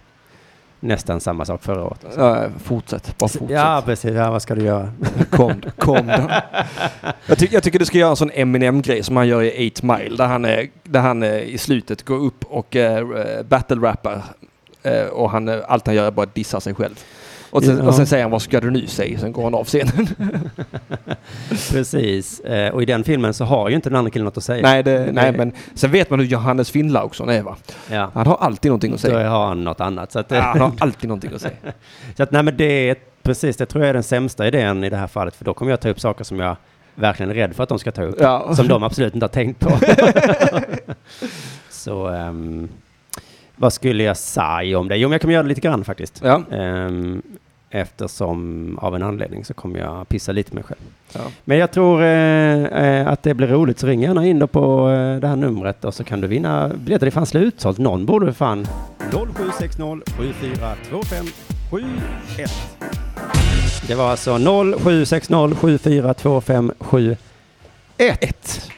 S1: nästan samma sak förra året.
S2: Ja, fortsätt, bara fortsätt.
S1: Ja, precis. Ja, vad ska du göra?
S2: Kom, kom då. jag, tycker, jag tycker du ska göra en sån Eminem-grej som han gör i 8 Mile. Där han, eh, där han eh, i slutet går upp och eh, battle-rappar. Eh, och han, eh, allt han gör är bara att dissa sig själv. Och sen,
S1: Ja.
S2: och sen säger han vad ska du nu säga? Sen går han av scenen.
S1: precis. Eh, och i den filmen så har ju inte den andra killen något att säga.
S2: nej, det, nej, men sen vet man hur Johannes Finnlaugsson är va?
S1: Ja.
S2: Han har alltid någonting att
S1: Då
S2: säga.
S1: har han något annat. Så att,
S2: Ja, Han har alltid någonting att säga.
S1: så att nej, men det är precis, det tror jag är den sämsta idén i det här fallet, för då kommer jag ta upp saker som jag verkligen är rädd för att de ska ta upp,
S2: Ja.
S1: som de absolut inte har tänkt på. så ehm, vad skulle jag säga om det? Jo, men jag kommer göra det lite grann faktiskt.
S2: Ja.
S1: Ehm, eftersom av en anledning så kommer jag pissa lite mig själv.
S2: Ja.
S1: Men jag tror eh, eh, att det blir roligt så ring gärna in då på eh, det här numret och så kan du vinna biljetter. Det är fan slutsålt. Någon borde för fan... 0760 7425 71. Det var alltså 0760 7425 71.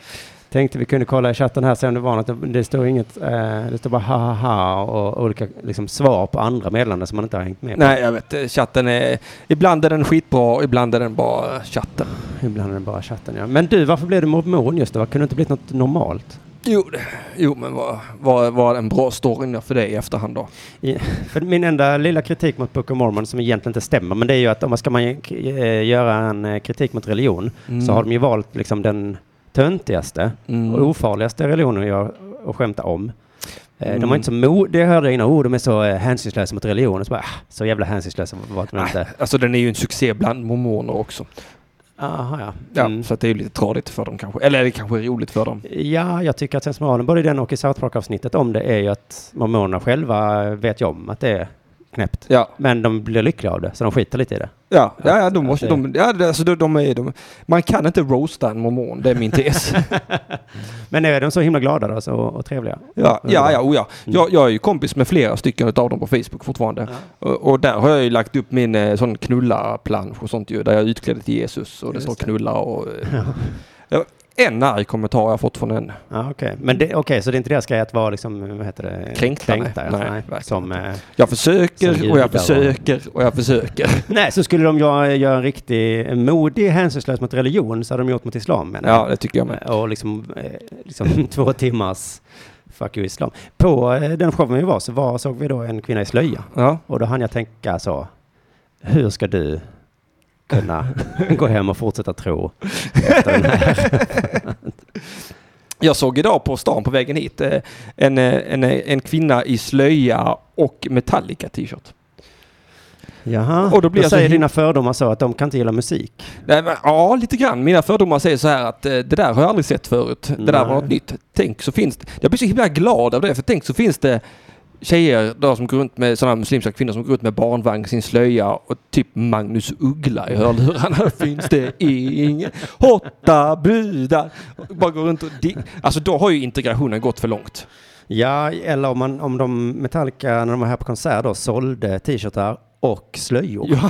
S1: Tänkte vi kunde kolla i chatten här sen om det var något. Det står inget, eh, det står bara ha ha ha och olika liksom, svar på andra meddelanden som man inte har hängt med på.
S2: Nej, jag vet. eh, Chatten är... Ibland är den skitbra, ibland är den bara chatten.
S1: Ibland är det bara chatten ja. Men du, varför blev du mormon just då? Kunde det inte blivit något normalt?
S2: Jo, det- jo men var, var, var en bra story nu för dig i efterhand då?
S1: I, för min enda lilla kritik mot Book of Mormon som egentligen inte stämmer, men det är ju att om man ska man ju, k- eh, göra en eh, kritik mot religion så har de ju valt liksom den töntigaste
S2: Mm.
S1: och ofarligaste religionen att göra- att skämta om. Eh, De
S2: Mm.
S1: var inte så mo... Det hörde jag innan. Oh, de är så eh, hänsynslösa mot religionen. Så, bara, ah, så jävla hänsynslösa var de inte.
S2: Alltså den är ju en succé bland mormoner också.
S1: Aha, ja.
S2: Ja,
S1: Mm.
S2: Så att det är ju lite tradigt för dem kanske. Eller det kanske är roligt för dem.
S1: Ja, jag tycker att sensmoralen, både i den och i South Park-avsnittet om det, är ju att mormonerna själva eh, vet ju om att det är knäppt.
S2: Ja,
S1: Men de blir lyckliga av det, så de skiter lite i det.
S2: ja, ja, ja, de
S1: Att
S2: måste,
S1: det-
S2: de, ja det- alltså, de, de är, de, man kan inte roasta en mormon, det är min tes.
S1: Men är de så himla glada då, så, och trevliga?
S2: Ja, ja, ja, oh ja.
S1: Mm.
S2: Jag, jag är ju kompis med flera stycken utav dem på Facebook fortfarande. Och, och där har jag ju lagt upp min eh, sån knulla-plansch och sånt ju, där jag är utklädd till Jesus och det
S1: Just
S2: står
S1: det.
S2: knulla och... eh, ja, En arg kommentar har jag fått från en.
S1: Ja, Ah, okej. Men det, okej, så det är inte deras grej att vara liksom, vad heter det?
S2: Kränkta, nej.
S1: ja.
S2: Nej,
S1: nej.
S2: verkligen
S1: Som, eh,
S2: Jag
S1: Som
S2: försöker och
S1: judar, va?
S2: jag försöker och jag försöker.
S1: nej, så skulle de göra göra en riktig modig hänsynslös mot religion så hade de gjort mot islam menar jag.
S2: Ja, det tycker jag med.
S1: Och liksom, eh, liksom två timmars fuck you islam. På eh, den showen vi var så var, såg vi då en kvinna i slöja.
S2: Ja,
S1: Och då hann jag tänka så, hur ska du kunna gå hem och fortsätta tro? Efter den här?
S2: Jag såg idag på stan på vägen hit eh, en, eh, en, eh, en kvinna i slöja och Metallica t-shirt.
S1: Jaha,
S2: Och då blir alltså jag så
S1: säger
S2: him-
S1: dina fördomar så att de kan inte gilla musik.
S2: Nej, men, Ja, lite grann. Mina fördomar säger så här att eh, det där har jag aldrig sett förut. Det där var
S1: Nej.
S2: något nytt. Tänk så finns det. Jag blir så himla glad av det. För tänk så finns det tjejer där som går runt med sådana muslimska kvinnor som går runt med barnvagn, sin slöja och typ Magnus Uggla i hörlurarna. finns det ingen hotta brudar. Och Bara går runt och... di- Alltså då har ju integrationen gått för långt.
S1: Ja, eller om, man, om de Metallica, när de var här på konsert då, sålde t-shirtar och slöjor.
S2: Ja.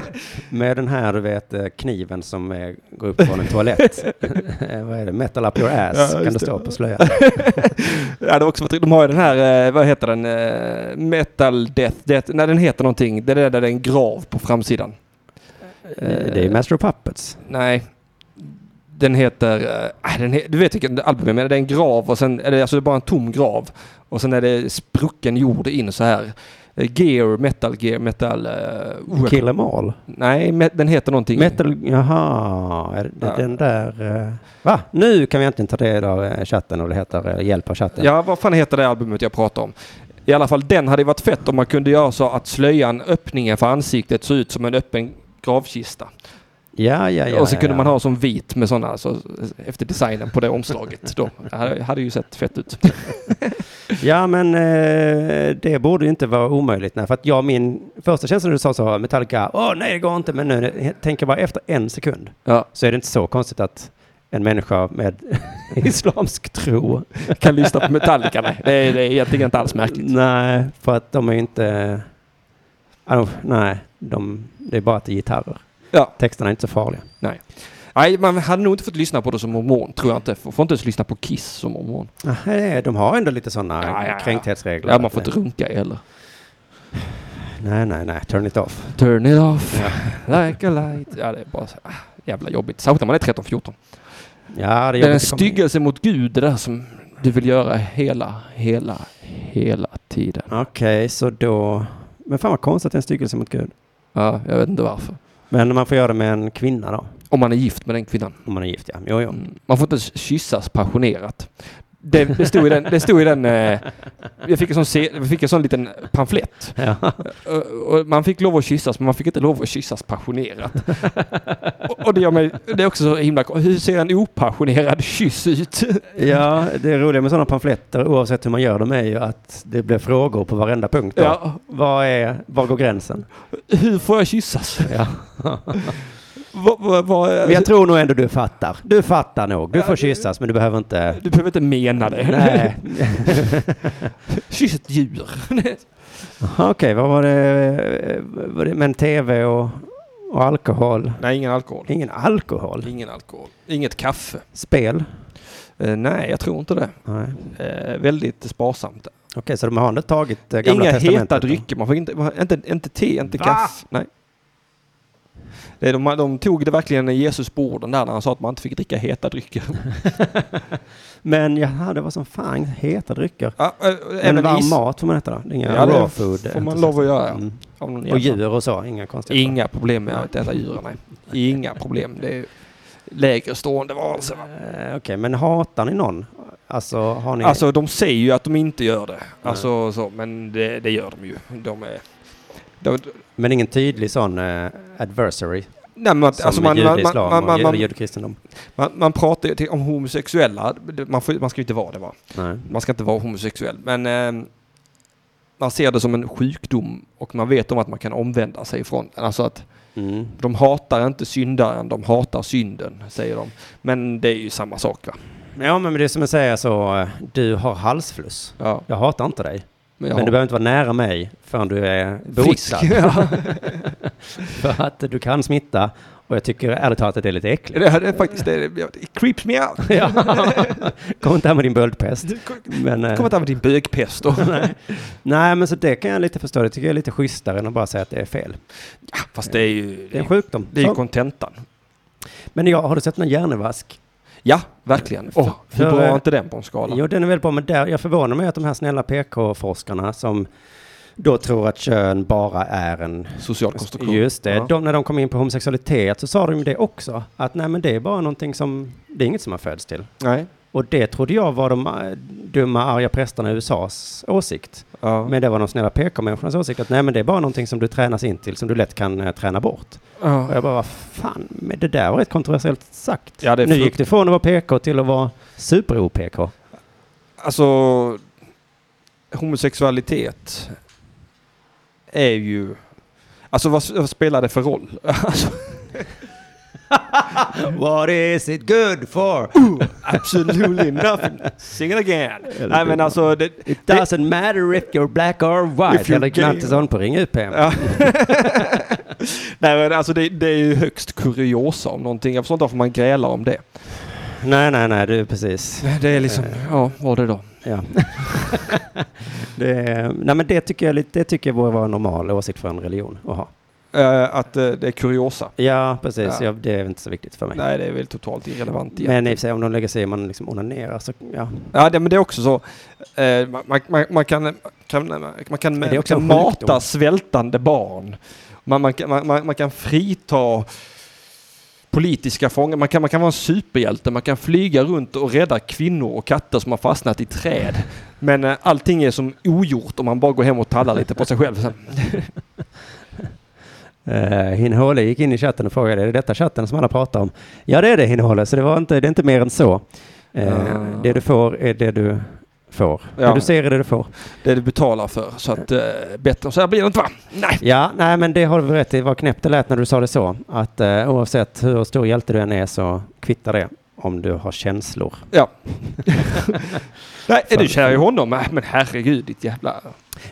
S1: Med den här, du vet, eh, kniven som eh, går upp från en toalett. Eh, Vad är det? Metal up your ass,
S2: Ja,
S1: kan det
S2: just
S1: stå på slöjan.
S2: Ja, det har också varit, de har ju den här, eh, vad heter den, eh, metal death, death, nej den heter någonting, det där där det är en grav på framsidan.
S1: Eh, Det är Master of Puppets.
S2: Nej. Den heter... eh, ah, Den he, du vet vilken album jag menar. Det är en grav och sen... Eller, alltså det är bara en tom grav. Och sen är det sprucken jord in så här. Eh, Gear, metal, gear, metal... eh, oh, jag-
S1: Kill em all.
S2: Nej, me, den heter någonting.
S1: Metal, jaha, är det
S2: Ja.
S1: den där... eh, Va? Nu kan vi äntligen ta del av eh, chatten och det heter eh, hjälp av chatten.
S2: Ja, vad fan heter det albumet jag pratar om? I alla fall den hade ju varit fett om man kunde göra så att slöjan, öppningen för ansiktet såg ut som en öppen gravkista.
S1: ja, ja, ja
S2: och så kunde
S1: ja.
S2: man ha som vit med sådana, alltså, efter designen på det omslaget. Då hade, hade ju sett fett ut.
S1: Ja, men eh, det borde ju inte vara omöjligt. Nej, för att jag, min första känsla när du sa så, Metallica, åh nej det går inte, men nu he- tänker jag bara efter en sekund
S2: Ja.
S1: så är det inte så konstigt att en människa med islamsk tro.
S2: kan lyssna på Metallica. Nej, det är, det är egentligen inte alls märkligt.
S1: Nej, för att de är ju inte... ja, de- nej, de, det är bara att det är gitarrer.
S2: Ja.
S1: Texterna är inte så farliga.
S2: Nej, man hade nog inte fått lyssna på det som mormon, tror jag inte. Får får inte ens lyssna på Kiss som mormon.
S1: Nej, de har ändå lite sådana
S2: Ah. Ja, ja, ja.
S1: kränkthetsregler.
S2: Ja, man får inte runka heller.
S1: Nej, nej, nej, turn it off.
S2: Turn it off, like a light. Ja, det är bara så, ah, jävla jobbigt. Särskilt när man är
S1: Ja, det
S2: 13-14. Det är en
S1: jobbigt att komma in.
S2: styggelse mot Gud det där som du vill göra hela, hela, hela tiden.
S1: Okej, så då... Men fan vad konstigt att det är en styggelse mot Gud.
S2: Ja, jag vet inte varför.
S1: Men man får göra det med en kvinna då,
S2: Om man är gift med den kvinnan.
S1: om man är gift ja. Jo, jo.
S2: Mm. Man får inte ens kyssas passionerat. Det, det stod i den... Det stod i den eh, jag, fick en sån se, jag fick en sån liten pamflett.
S1: Ja.
S2: Och- och man fick lov att kyssas, men man fick inte lov att kyssas passionerat. och, och det, gör mig, det är också så himla... Hur ser en opassionerad kyss ut?
S1: ja, det roliga med sådana pamfletter, oavsett hur man gör dem, är ju att det blir frågor på varenda punkt. Då.
S2: ja.
S1: Vad är, var går gränsen?
S2: Hur får jag kyssas?
S1: Ja.
S2: Vad- vad- vad-
S1: Men jag tror nog ändå du fattar. Du fattar nog. Du får kyssas, men du behöver inte...
S2: Du behöver inte mena det.
S1: Nej.
S2: Kyss ett djur.
S1: Okej, vad var det? var det- Men tv och, och alkohol?
S2: Nej, ingen alkohol.
S1: Ingen alkohol?
S2: Ingen alkohol. Inget kaffe.
S1: Spel?
S2: Eh, nej, jag tror inte det.
S1: Nej.
S2: Eh, väldigt sparsamt.
S1: Okej, så de har ändå tagit eh, gamla
S2: Inga heta
S1: testamentet då?
S2: drycker. Man får inte, man- inte, inte te, inte kaffe. Nej. Det, de, de tog det verkligen i Jesus på orden där när han sa att man inte fick dricka heta drycker.
S1: Men jaha, det var som fan heta drycker.
S2: Ja, eh,
S1: Men varm
S2: is-
S1: mat får man äta då? Inga
S2: Ja, det
S1: raw
S2: f-
S1: food?
S2: får
S1: inte
S2: man
S1: så-
S2: lov att göra.
S1: Mm.
S2: av någon
S1: Och
S2: jävla- typ.
S1: djur och så? Inga konstiga
S2: Inga problem med att äta djur, nej. Inga problem. Det är lägre stående varelser. va?
S1: Eh, Okej, men hatar ni någon? Alltså, har ni...
S2: Alltså de säger ju att de inte gör det. Alltså, så, men det, det gör de ju. De är... De,
S1: men ingen tydlig sån eh, adversary?
S2: nej, men,
S1: Som
S2: alltså, man, man, man,
S1: judislam
S2: man, man,
S1: och
S2: man,
S1: judekristendom?
S2: man, man pratar ju till- om homosexuella. Man, får, man ska ju inte vara det va?
S1: Nej.
S2: Man ska inte vara homosexuell. Men eh, man ser det som en sjukdom och man vet om att man kan omvända sig ifrån den. Alltså att
S1: Mm.
S2: de hatar inte syndaren, de hatar synden, säger de. Men det är ju samma sak va?
S1: Ja, men det är som att säga så, eh, du har halsfluss.
S2: Ja,
S1: Jag hatar inte dig,
S2: men jag
S1: men du
S2: har-
S1: behöver inte vara nära mig förrän du är
S2: Frisk.
S1: botad.
S2: Ja,
S1: För att du kan smitta och jag tycker ärligt talat att det är lite äckligt.
S2: det här är faktiskt det. It creeps me out.
S1: Ja. Kom inte här med din böldpest.
S2: Du kom-
S1: Men, eh,
S2: Kom inte med din bögpest då.
S1: nej. nej, men så det kan jag lite förstå. Det tycker jag är lite schysstare än att bara säga att det är fel.
S2: Fast det är ju...
S1: Det är en sjukdom.
S2: Det är ju
S1: Så.
S2: kontentan.
S1: Men jag har du sett någon hjärnevask?
S2: Ja, verkligen. Åh, hur
S1: för,
S2: bra
S1: eh,
S2: är inte den på en skala?
S1: Jo, den är väldigt bra, men där, jag förvånar mig att de här snälla PK-forskarna som då tror att kön bara är en
S2: Social konstruktion.
S1: Just det.
S2: Ja.
S1: De, när de kom in på homosexualitet så sa de ju det också. Att nej men det är bara någonting som, det är inget som man föds till.
S2: Nej.
S1: Och det trodde jag var de eh, dumma arga prästerna i USAs åsikt.
S2: Ja.
S1: Men det var de snälla PK-människornas åsikt att nej men det är bara någonting som du tränas in till som du lätt kan eh, träna bort. Och
S2: ja.
S1: jag bara, vad fan, men det där var rätt kontroversiellt sagt.
S2: Ja, det är
S1: nu
S2: frukt-
S1: gick det från att vara PK till att vara super-OPK.
S2: Alltså, homosexualitet är ju... Alltså vad, vad spelar det för roll? Alltså,
S1: What is it good for?
S2: absolutely nothing. Sing it again. Nej men alltså, det,
S1: It doesn't matter if you're black or
S2: If
S1: white.
S2: you're
S1: Henrik
S2: gay.
S1: Knattesson på Ring UP.
S2: Ja. Nej men alltså det, det är ju högst kuriosa om någonting. Jag förstår inte varför man grälar om det.
S1: Nej, nej, nej, du precis.
S2: Det är liksom, ja vad är det då?
S1: Ja. det, nej, men det tycker jag, lite- det tycker jag borde vara en normal åsikt för en religion att ha.
S2: Eh, att eh, det är kuriosa.
S1: Ja, precis.
S2: Ja.
S1: Ja. det är inte så viktigt för mig.
S2: Nej det är väl totalt irrelevant egentligen.
S1: men i och för sig, om de lägger sig i man liksom onanerar så, ja.
S2: Ja, det, men det är också så. Eh, man, man- man, man kan, kan, man kan
S1: det är också en
S2: mata
S1: sjukdom.
S2: svältande barn. Man, man, kan- man, man, man kan frita politiska fångar. Man kan, man kan vara en superhjälte. Man kan flyga runt och rädda kvinnor och katter som har fastnat i träd. Men eh, allting är som ogjort om man bara går hem och tallar lite på sig själv. Sen,
S1: Uh, Hinhåle gick in i chatten och frågade, är det detta chatten som alla pratar om? Ja, det är det Hinhåle, så det, var inte, det är inte mer än så. Eh,
S2: Ah.
S1: Det du får är det du får.
S2: Ja.
S1: Det du ser är det du får.
S2: det du betalar för. Så att eh, bättre än så här blir det inte va? Nej.
S1: Ja, nej men det har du rätt i. Vad knäppt det lät när du sa det så. Att eh, oavsett hur stor hjälte du än är så kvittar det om du har känslor.
S2: Ja. Nej, är du kär i honom? Nej, men herregud ditt jävla...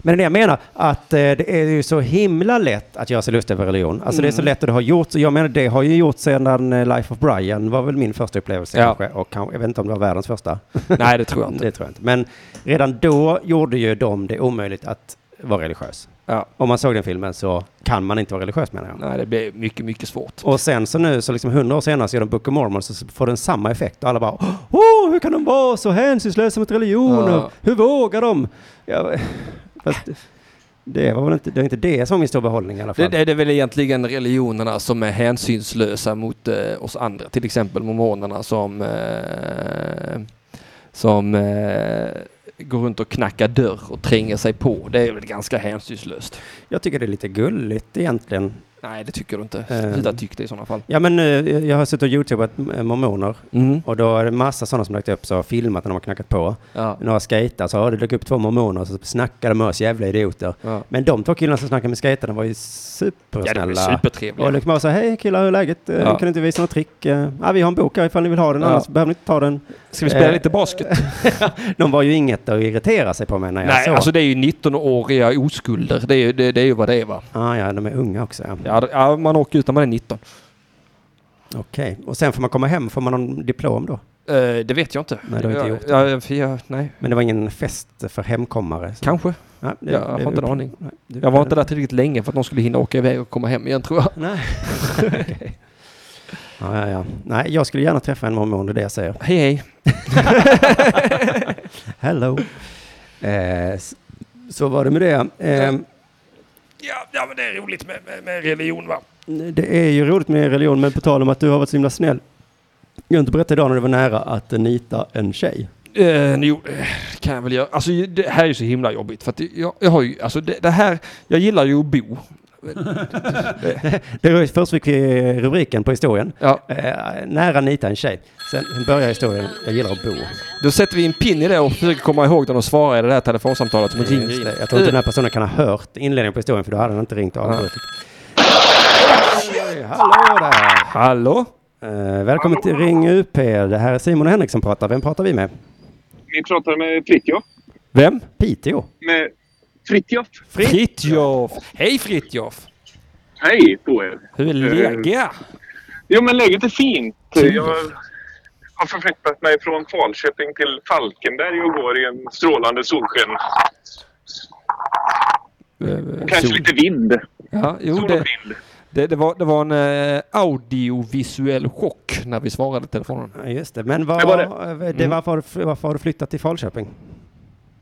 S1: Men det jag menar, att eh, det är ju så himla lätt att göra sig lustig över religion. Alltså det är så
S2: Mm.
S1: lätt att det har gjorts. Och Jag menar, det har ju gjorts sedan eh, Life of Brian var väl min första upplevelse
S2: Ja.
S1: kanske. Och kan, jag vet inte om det var världens första.
S2: Nej, det tror jag inte.
S1: det tror jag inte. Men redan då gjorde ju de det omöjligt att vara religiös.
S2: Ja.
S1: Om man såg den filmen så kan man inte vara religiös menar jag.
S2: Nej, det blir mycket, mycket svårt.
S1: Och sen så nu, så liksom hundra år senare, så gör de Book of Mormon, så får den samma effekt. Och alla bara, åh, oh, hur kan de vara så hänsynslösa mot religion?
S2: Ja.
S1: Och Hur vågar de? Ja, fast det var väl inte det, är inte det som är min stora behållning i alla
S2: Det,
S1: fall.
S2: det, det är väl egentligen religionerna som är hänsynslösa mot eh, oss andra. Till exempel mormonerna som, eh, som eh, går runt och knackar dörr och tränger sig på. Det är väl ganska hänsynslöst.
S1: Jag tycker det är lite gulligt egentligen.
S2: Nej, det tycker du inte.
S1: Eh.
S2: Sluta tycka det i sådana fall.
S1: Ja, men nu, jag har suttit och youtubat eh, mormoner.
S2: Mm.
S1: Och då är det massa sådana som lagt upp så har filmat när de har knackat på.
S2: Ja.
S1: Några skejtare så har det dök upp två mormoner så snackade de med oss jävla idioter.
S2: Ja.
S1: Men de två killarna som snackade med skejtarna var ju
S2: ja,
S1: supersnälla.
S2: de är
S1: Och
S2: supertrevliga.
S1: liksom bara så här, hej killar, hur är läget? Eh,
S2: Ja.
S1: Kan du inte visa något trick? Eh, Ja, vi har en bok här ifall ni vill ha den,
S2: Ja.
S1: annars behöver ni inte ta den.
S2: Ska vi spela
S1: Eh.
S2: lite basket?
S1: De var ju inget att irritera sig på mig när jag
S2: Nej,
S1: såg.
S2: alltså det är ju 19-åriga oskulder. Det är, ju- det, det är ju vad det är va?
S1: ah, ja, de är unga också. Ja.
S2: Ja, d- ja, man åker ut när man är 19.
S1: Okej, och sen får man komma hem, får man någon diplom då?
S2: Eh, det vet jag inte.
S1: Nej, det har inte gjort
S2: jag, jag, för jag, nej,
S1: Men det var ingen fest för hemkommare? så-
S2: kanske.
S1: Nej, det-
S2: Jag har
S1: det-
S2: inte en aning.
S1: Nej, du-
S2: Jag var inte där tillräckligt länge för att någon skulle hinna åka iväg och komma hem igen tror jag.
S1: Nej. ja, ja, ja. Nej, jag skulle gärna träffa en mormon, det är det jag säger.
S2: Hej hej.
S1: Hello. Eh, s- så var det med det. Eh,
S2: Ja, ja men det är roligt med, med, med religion va?
S1: det är ju roligt med religion, men på tal om att du har varit så himla snäll. Jag har inte berättat idag när du var nära att nita en tjej.
S2: Eh, jo, det kan jag väl göra. Alltså det här är ju så himla jobbigt för att jag, jag har ju, alltså det, det här, jag gillar ju att bo.
S1: Det var, först fick vi eh, rubriken på historien.
S2: Ja,
S1: Eh, nära nita en tjej. Sen börjar historien, jag gillar att bo.
S2: då sätter vi en pin i det och försöker komma ihåg när de svarar i det här telefonsamtalet som Eh, ringer
S1: Just
S2: in.
S1: det. Mm. Jag tror inte den här personen kan ha hört inledningen på historien för då hade han inte ringt och avbrutit. Oj, Hallå där!
S2: Hallå?
S1: Eh, välkommen till Ring UP. Det här är Simon och Henrik som pratar. Vem pratar vi med?
S6: Vi pratar med Fritjof.
S2: Vem?
S1: Piteå.
S6: Med Fritjof?
S2: Fritjof! Hej Fritjof!
S6: Hej på er!
S2: Hur är läget?
S6: Jo, men läget är fint. Jag har förflyttat mig från Falköping till Falkenberg och går i en strålande solsken.
S2: Eh,
S6: Kanske
S2: sol.
S6: lite vind.
S2: Ja, jo,
S6: Sol och
S2: det,
S6: vind.
S2: det, det, var, det var en eh, audiovisuell chock när vi svarade i telefonen.
S1: Ja, Just det. Men var, eh,
S6: Det var
S1: det.
S2: Mm.
S1: varför, har du- varför har du flyttat till Falköping?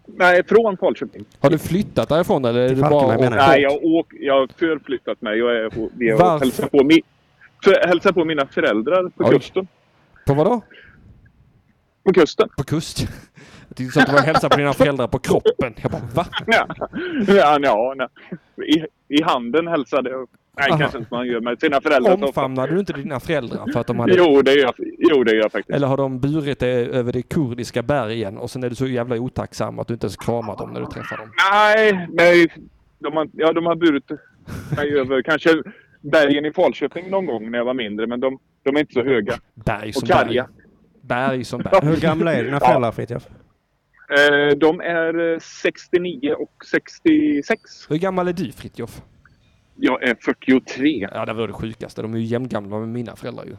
S6: Nej, från Falköping.
S2: Har du flyttat därifrån eller? Är
S1: Till
S2: det bara
S1: Falkenberg, menar jag.
S6: Nej, jag, har åk, jag har förflyttat mig. Jag är på, vi
S2: Varför?
S6: har hälsat på, mi, för, hälsat på mina föräldrar på
S2: Oj.
S6: kusten.
S2: På vadå?
S6: På kusten?
S2: På kust? Jag tyckte att du var och hälsade på dina föräldrar på kroppen. Jag bara va?
S6: Ja, ja, ja nej. I, I handen hälsade jag. Nej,
S2: Aha.
S6: kanske inte man gör med sina föräldrar. så ofta.
S2: Omfamnade du inte dina föräldrar för att de hade...
S6: Jo, det gör jag, jo, det gör jag faktiskt.
S2: Eller har de burit dig över de kurdiska bergen och sen är du så jävla otacksam att du inte ens kramar dem när du träffar dem?
S6: Nej, nej. De har, ja, de har burit mig över kanske bergen i Falköping någon gång när jag var mindre. Men de, de är inte så höga.
S2: Berg som
S6: Och karga.
S2: berg. Berg som berg.
S1: Hur gamla är dina föräldrar, Fritiof?
S6: Eh, de är eh, 69 och 66.
S2: Hur gammal är du Fritjof?
S6: Jag är 43.
S2: Ja, det var det sjukaste. De är ju jämngamla med mina föräldrar ju.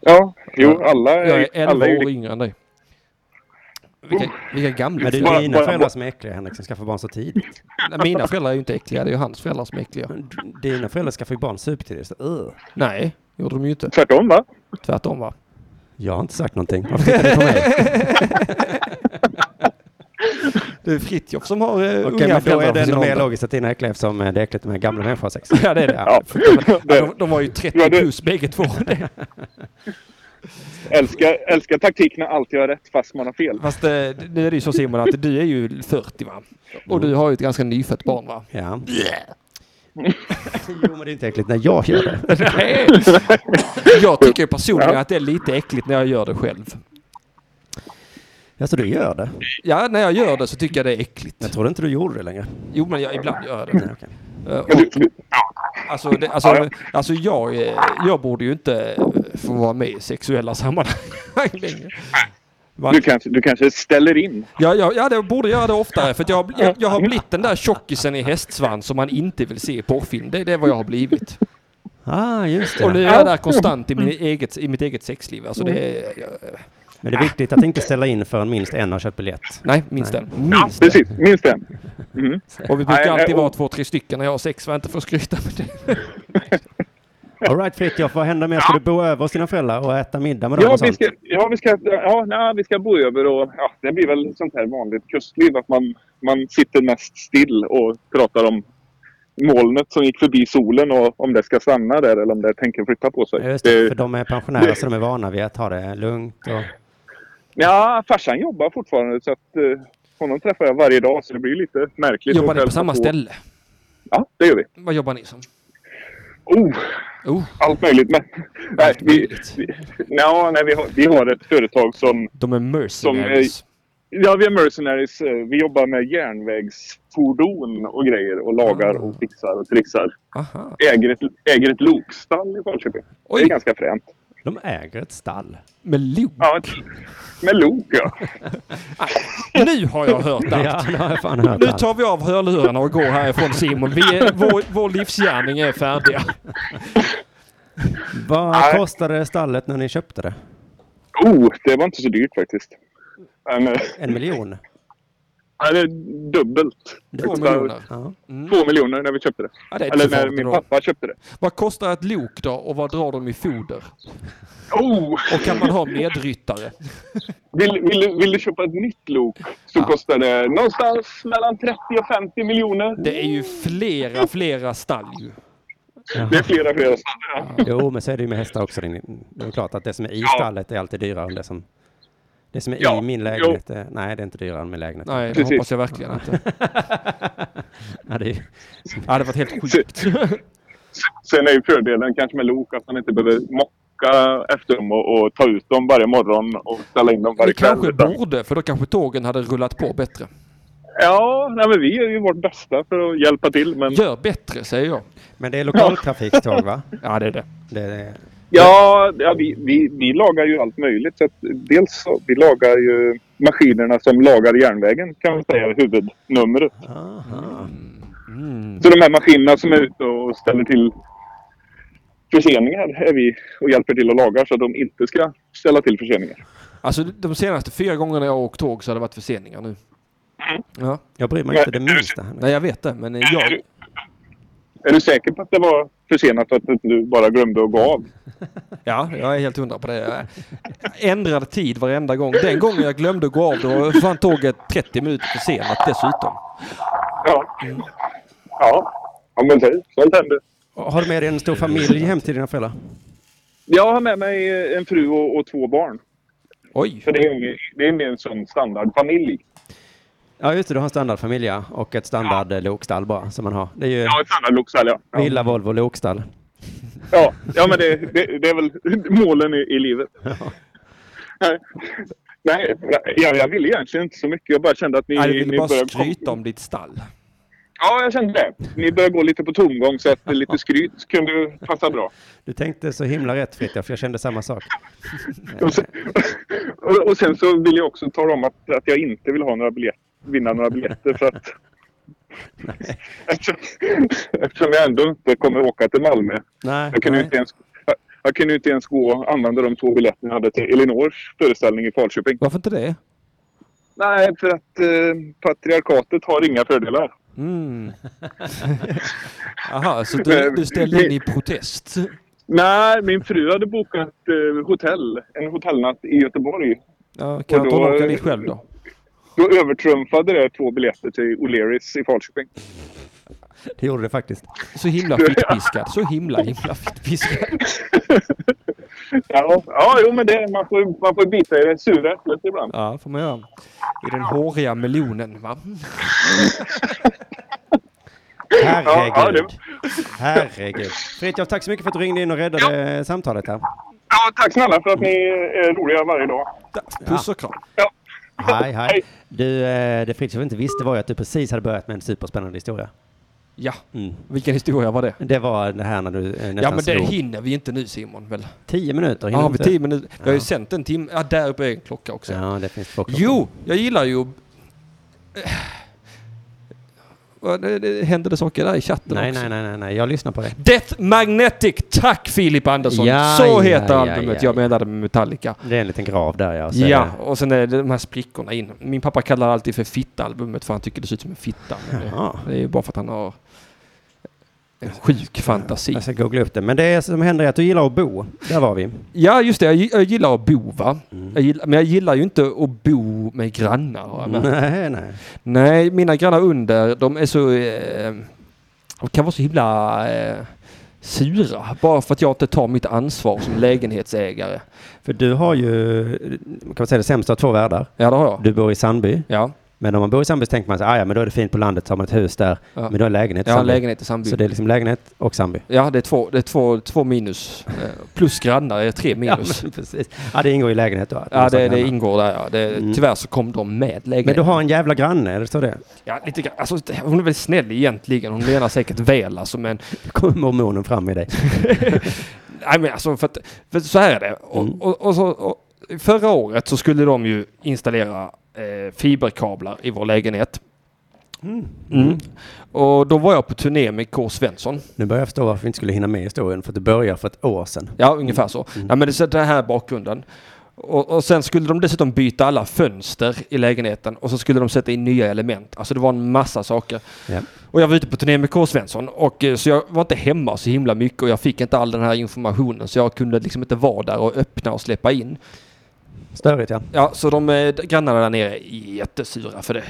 S6: Ja, jo, alla
S2: Jag är
S6: är,
S2: 11
S6: alla är ju liksom
S2: år yngre än dig. Vilka, vilka gamla
S1: Men det
S6: Bara-
S1: är dina
S6: bara-
S1: föräldrar som är äckliga, Henrik, som skaffar barn så tidigt.
S2: Nej, Mina föräldrar är ju inte äckliga. Det är ju hans föräldrar som är äckliga.
S1: D- Dina föräldrar skaffar ju barn supertidigt. Så, uh. ugh.
S2: Nej, gjorde de ju inte.
S6: tvärtom va?
S2: Tvärtom va?
S1: jag har inte sagt någonting. Varför tittar ni på mig?
S2: Det är Fritjof som har eh,
S1: Okej,
S2: unga
S1: men då
S2: föräldrar
S1: är
S2: på
S1: det
S2: sin
S1: ändå mer
S2: ålder.
S1: logiskt att dina är äckliga eftersom eh, det är äckligt med gamla människor har sex.
S2: Ja, det är det.
S6: Ja.
S2: Ja, de, de var ju 30
S6: Ja, det-
S2: plus bägge två.
S6: Älskar, älskar taktik när allt gör rätt fast man har fel.
S2: Fast eh, nu är det ju så Simon att du är ju 40 va? Och du har ju ett ganska nyfött barn va?
S1: Ja. Jo, men det är inte äckligt när jag gör det.
S2: Nej! Jag tycker ju personligen att det är lite äckligt när jag gör det själv.
S1: Alltså, du gör det?
S2: Ja, när jag gör det så tycker jag det är äckligt.
S1: Jag trodde inte du gjorde det längre.
S2: Jo, men jag, ibland gör jag det.
S1: Nej, okej.
S2: Eh, och,
S6: Men du,
S2: alltså, det, alltså, alltså jag, eh, jag borde ju inte eh, få vara med i sexuella sammanhang längre.
S6: du, kanske, du kanske ställer in?
S2: Ja, ja, ja, jag borde göra det oftare för att jag, har bl- jag, jag har blivit den där tjockisen i hästsvans som man inte vill se i porrfilm. Det, det är vad jag har blivit.
S1: Ah, just det.
S2: Och nu är jag där konstant i, min eget, i mitt eget sexliv. Alltså det är, jag-
S1: Men det är viktigt att inte ställa in förrän minst en har köpt biljett.
S2: nej, minst den.
S6: Ja,
S2: Minst den.
S6: precis. Minst det. Mm.
S2: Och vi brukar
S6: Nej,
S2: alltid
S6: och-
S2: vara två, tre stycken när jag har sex. Var inte för att skryta med det.
S1: All right Fritiof, vad händer med? Ska du bo över hos dina föräldrar och äta middag med dem
S6: Ja,
S1: och
S6: vi
S1: sånt?
S6: ska, ja, vi ska, ja nej, vi ska bo över och ja, det blir väl sånt här vanligt kustliv att man, man sitter mest still och pratar om molnet som gick förbi solen och om det ska stanna där eller om det tänker flytta på sig.
S1: Ja, Just det,
S6: Eh,
S1: för de är pensionärer så de är vana vid att ha det lugnt och...
S6: Ja, farsan jobbar fortfarande så att eh, honom träffar jag varje dag så det blir lite märkligt.
S2: Jobbar
S6: att
S2: ni på
S6: hälsa
S2: samma ställe?
S6: Ja, det gör vi.
S2: Vad jobbar ni som?
S6: Oh,
S2: Oh,
S6: allt möjligt. Men, nej,
S2: Allt
S6: vi,
S2: möjligt.
S6: vi, ja, nej, vi, har, vi har ett företag som...
S2: de är mercenaries.
S6: Ja, vi är mercenaries. eh, Vi jobbar med järnvägsfordon och grejer och lagar och fixar och trixar.
S2: Aha.
S6: Äger ett, äger ett lokstall i Falköping. Det
S2: Oj.
S6: är ganska fränt.
S1: De äger ett stall.
S2: Med lok.
S6: Ja, ett, med lok ja.
S2: Nu har jag hört allt.
S1: Ja, det har jag fan hört.
S2: Nu
S1: allt.
S2: tar vi av hörlurarna och går härifrån Simon. Vi är, vår, vår livsgärning är färdiga.
S1: Vad
S6: Nej.
S1: kostade stallet när ni köpte det?
S6: Oh, det var inte så dyrt faktiskt. Men, eh,
S1: En miljon?
S6: nej, det är dubbelt.
S2: Två miljoner. Mm.
S1: Ja.
S6: Två miljoner när vi köpte det.
S2: Ja, det är
S6: Eller
S2: inte så
S6: när
S2: farligt
S6: min
S2: ändå.
S6: pappa köpte det.
S2: Vad kostar ett lok då och vad drar de i foder?
S6: Oh!
S2: Och kan man ha medryttare?
S6: Vill, vill, vill du köpa ett nytt lok så
S2: Ja.
S6: kostar det någonstans mellan 30 och 50 miljoner.
S2: Det är ju flera, flera stall ju.
S6: Det är flera, flera ställen.
S1: Jo, men så är det ju med hästar också. Det är klart att det som är i
S6: Ja.
S1: stallet är alltid dyrare än det som... Det som är i
S6: Ja,
S1: min lägenhet, är, nej det är inte dyrare än min lägenhet.
S2: Nej, det
S6: Precis.
S2: hoppas jag verkligen inte.
S1: Ja, det är, ju-
S2: Det hade varit helt sjukt.
S6: Sen är ju fördelen kanske med lok att man inte behöver mocka efter dem och, och ta ut dem varje morgon och ställa in dem varje
S2: Vi
S6: kväll.
S2: kanske
S6: utan-
S2: borde, för då kanske tågen hade rullat på bättre.
S6: Ja, nej, men vi gör ju vårt bästa för att hjälpa till. Men
S2: Gör bättre, säger jag.
S1: men det är lokaltrafiktåg va?
S2: Ja, det är det.
S1: Det är,
S6: ja, ja vi, vi, vi lagar ju allt möjligt. Så att dels så, vi lagar ju maskinerna som lagar järnvägen kan vi säga är huvudnumret.
S1: aha.
S2: Mm.
S6: Så de här maskinerna som är ute och ställer till förseningar är vi och hjälper till att laga så att de inte ska ställa till förseningar.
S2: Alltså, de senaste fyra gångerna jag har åkt tåg så har det varit förseningar nu. Ja,
S1: Jag bryr mig inte det minsta.
S2: nej, jag vet det, men jag...
S6: Är du säker på att det var försenat och att inte du bara glömde att gå av?
S2: Ja, jag är helt hundra på det. Jag Ändrade tid varenda gång. Den gången jag glömde att gå av, då var fan tåget 30 minuter försenat dessutom.
S6: Ja. Ja, ja men så- sånt händer.
S1: Har du med dig en stor familj hem till dina föräldrar?
S6: Jag har med mig eh, en fru och, och två barn.
S2: Oj!
S6: Så det är, ingen- det är mer en sån standardfamilj.
S1: Ja, just det. Du har en standardfamilj ja, och ett standard eh, lokstall bara som man har. Det är ju
S6: Ja, ett standardloksall ja. Ja.
S1: villa, Volvo, lokstall.
S6: Ja, ja men det, det, det är väl målen i, i livet. Nej, jag, jag ville egentligen inte så mycket. Jag bara kände att ni...
S2: Jag ville
S6: ni
S2: bara
S6: började-
S2: skryta om ditt stall.
S6: Ja, jag kände det. Ni börjar gå lite på tomgång så att lite skryt kunde passa bra.
S1: Du tänkte så himla rätt Fritiof, för jag kände samma sak.
S6: Och sen, och, och sen så vill jag också tala om att, att jag inte vill ha några biljett, vinna några biljetter för att... Eftersom, eftersom jag ändå inte kommer åka till Malmö.
S1: Nej,
S6: Jag kunde ju
S1: nej.
S6: inte ens... Jag, jag kunde ju inte ens gå och använda de två biljetterna jag hade till Elinors föreställning i Falköping.
S2: Varför inte det?
S6: Nej, för att eh, patriarkatet har inga fördelar.
S2: Mm. Aha, så du, du ställde in i protest?
S6: Nej, min fru hade bokat eh, hotell, en hotellnatt i Göteborg.
S2: Ja, kan
S6: Och
S2: inte hon
S6: då-
S2: åka dit själv då?
S6: Då övertrumfade det två biljetter till O'Learys i Falköping.
S1: Det gjorde det faktiskt.
S2: Så himla fittpiskad. Så himla, himla fittpiskad.
S6: ja, ja, jo men det, man, får, man får bita i det sura äpplet ibland.
S2: Ja, får man göra. I den håriga melonen, va?
S1: Herregud.
S6: Ja, ja, det-
S1: Herregud. Fritiof, tack så mycket för att du ringde in och räddade samtalet här.
S6: Ja, tack snälla för att ni är roliga varje dag.
S2: Puss och kram.
S6: Ja.
S1: Hej, hej. Du, eh, det Fritiof inte visste var ju att du precis hade börjat med en superspännande historia.
S2: Ja,
S1: Mm.
S2: vilken historia var det?
S1: Det var det här när du eh, nästan
S2: Ja, men det
S1: slog
S2: hinner vi inte nu Simon, väl?
S1: tio minuter.
S2: Ja,
S1: hinner
S2: har vi
S1: inte?
S2: tio minuter? Vi har ju sänt en timme. Ja, där uppe är en klocka också.
S1: Ja, det finns två klockor.
S2: Jo, jag gillar ju... Vad- det- det- Hände det saker där i chatten
S1: Nej,
S2: också?
S1: nej, nej, nej, nej, jag lyssnar på dig.
S2: Death Magnetic! Tack Filip Andersson!
S1: Ja,
S2: Så
S1: ja,
S2: heter
S1: ja,
S2: albumet
S1: ja,
S2: jag
S1: ja.
S2: menade med Metallica.
S1: Det är en liten grav där, ja. och så eh, är
S2: Ja,
S1: det-
S2: och sen är det de här sprickorna in. Min pappa kallar det alltid för Fitta-albumet för han tycker det ser ut som en fitta. Men det,
S1: Jaha.
S2: det är ju bara för att han har en sjuk fantasi.
S1: Jag ska googla upp det. Men det som händer är att du gillar att bo. Där var vi.
S2: Ja, just det. Jag, gi- jag gillar att bo, va?
S1: Mm.
S2: Jag gillar, men jag gillar ju inte att bo med grannar. har jag märkt.
S1: Nej, nej.
S2: Nej, mina grannar under, de är så... Eh, de kan vara så himla eh, sura. Bara för att jag inte tar mitt ansvar som lägenhetsägare.
S1: För du har ju, kan man säga det sämsta av två världar.
S2: Ja, det har jag.
S1: Du bor i Sandby.
S2: Ja,
S1: Men om man bor i Sandby så tänker man sig, "Ah, ja men då är det fint på landet, så har man ett hus där.
S2: Ja.
S1: Men du har en lägenhet i
S2: jag har en
S1: Sandby.
S2: lägenhet i Sandby.
S1: Så det är liksom lägenhet och Sandby.
S2: Ja, det är två, det är två, två minus. Eh, Plus grannar är tre minus.
S1: men precis. Ja, det ingår i lägenhet då. att man
S2: Ja,
S1: måste ha
S2: det, det
S1: grannar.
S2: ingår där. Ja. Det,
S1: Mm.
S2: Tyvärr så kom de med
S1: Men du
S2: lägenheten.
S1: har en jävla granne, är det så det?
S2: Ja, lite grann. Alltså, hon är väl snäll egentligen. Hon menar säkert väl alltså, men
S1: Då kommer mormonen fram i dig.
S2: Nej men alltså för, att, för så här är det. Och,
S1: Mm.
S2: och, och så, och, förra året så skulle de ju installera eh, fiberkablar i vår lägenhet. Mm. Och då var jag på turné med K. Svensson.
S1: Nu börjar jag förstå varför vi inte skulle hinna med historien, för att det börjar för ett år sedan.
S2: Ja, ungefär så. Ja, men det är den här bakgrunden. Och, och sen skulle de dessutom byta alla fönster i lägenheten och så skulle de sätta in nya element. Alltså det var en massa saker.
S1: Ja.
S2: Och jag var ute på turné med K. Svensson och eh, så jag var inte hemma så himla mycket och jag fick inte all den här informationen så jag kunde liksom inte vara där och öppna och släppa in.
S1: Störigt ja.
S2: Ja, så de eh, grannarna där nere är jättesura för det.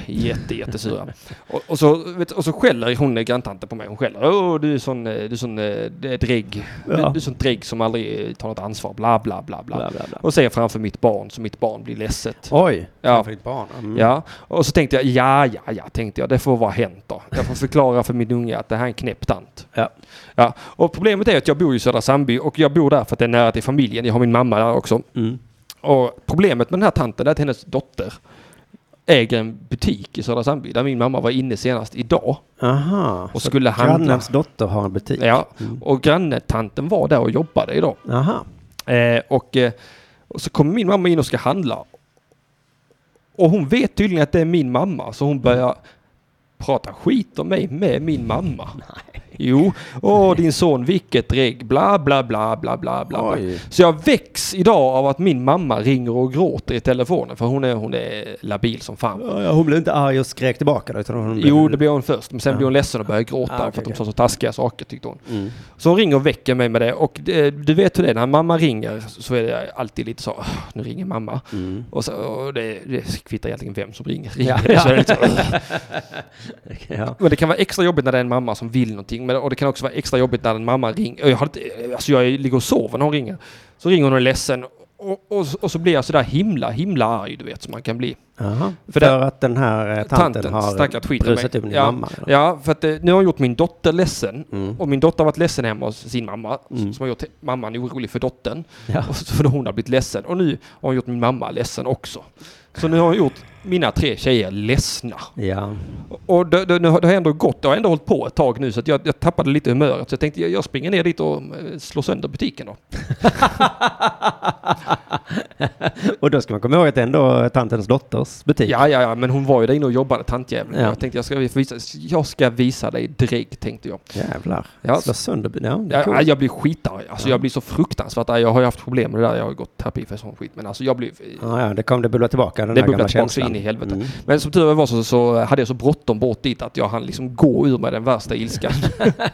S2: Jätte, jättesura. och, och, så, vet, och så skäller hon eh, granntanten på mig. Hon skäller. Åh, du är sån, eh, du är sån eh, drägg. Du,
S1: Ja.
S2: du är sån drägg som aldrig eh, tar något ansvar. Bla, bla, bla, bla.
S1: Bla, bla, bla.
S2: Och säger framför mitt barn, så mitt barn blir ledset.
S1: Oj,
S2: Ja.
S1: för ditt barn. Mm.
S2: Ja, och så tänkte jag, ja, ja, ja, tänkte jag, det får vara hänt då. Jag får förklara för min unge att det här är en knäpp tant.
S1: Ja.
S2: Ja, och problemet är att jag bor i Södra Sandby och jag bor där för att det är nära till familjen. Jag har min mamma där också.
S1: Mm.
S2: Och problemet med den här tanten är att hennes dotter äger en butik i Södra Sandby där min mamma var inne senast idag.
S1: Aha.
S2: Och skulle handla.
S1: Grannens dotter har en butik. mm.
S2: Ja, och grannetanten var där och jobbade idag.
S1: Aha.
S2: Eh, och, eh, och så kommer min mamma in och ska handla. Och hon vet tydligen att det är min mamma så hon börjar prata skit om mig med min mamma. Jo, åh din son vilket reg, bla bla bla bla bla bla. bla.
S1: Oj.
S2: Så jag väcks idag av att min mamma ringer och gråter i telefonen för hon är, hon är labil som fan.
S1: Ja, Hon blev inte arg och skrek tillbaka då, utan hon blev...
S2: Jo, det blev hon först. Men sen blev hon ledsen och började gråta
S1: Ah,
S2: för
S1: okej,
S2: att de
S1: okej.
S2: sa så taskiga saker tyckte hon. Så hon ringer och väcker mig med det. Och eh, du vet hur det är, när mamma ringer så är det alltid lite så, "Åh, nu ringer mamma. Och, så, och det, det kvittar egentligen vem som ringer. ringer det, så är det lite så, "Åh."
S1: Ja.
S2: men det kan vara extra jobbigt när det är en mamma som vill någonting. Men, och det kan också vara extra jobbigt när en mamma ringer. Och Jag, har inte, alltså jag ligger och sover när hon ringer. Så ringer hon och är ledsen. Och, och, och så blir jag sådär himla, himla arg, du vet, som man kan bli.
S1: Aha. För,
S2: För det-
S1: att den här eh, tanten,
S2: tanten
S1: har
S2: snackat skit om
S1: brusat
S2: mig.
S1: upp din
S2: ja,
S1: mamma. Mm. eller?
S2: Ja, för att eh, nu har jag gjort min dotter ledsen. Och min dotter har varit ledsen hemma hos sin mamma. Som har gjort he- mamman orolig för dottern.
S1: Mm. Ja.
S2: Och så, för hon har blivit ledsen. Och nu har hon gjort min mamma ledsen också. Så nu har hon gjort mina tre tjejer ledsna.
S1: ja.
S2: Och det, det, det har ändå gått, det har ändå hållit på ett tag nu så att jag, jag tappade lite humöret. Så jag tänkte jag, jag springer ner dit och eh, slår sönder butiken då.
S1: Och då ska man komma ihåg att det ändå är tantens dotters butik.
S2: Ja, ja, ja, men hon var ju där inne och jobbade, tantjäveln.
S1: Typ. Ja.
S2: Jag tänkte jag ska visa, jag ska visa dig drägg, tänkte jag.
S1: Jävlar.
S2: Ja.
S1: Slå sönder... Ja, det är
S2: Ja,
S1: coolt.
S2: jag blir skitarg. Alltså, Jag blir så fruktansvärt arg. Jag har ju haft problem med det där. Jag har ju gått terapi för sån skit. Men alltså jag blir...
S1: Ja, ja, det kom det bubbla tillbaka, den
S2: Det
S1: här gamla
S2: bubblar tillbaka så
S1: känslan.
S2: in i helvete.
S1: Mm.
S2: Men som tur var så, så hade jag så bråttom bort dit att jag hann liksom gå ur med den värsta ilskan.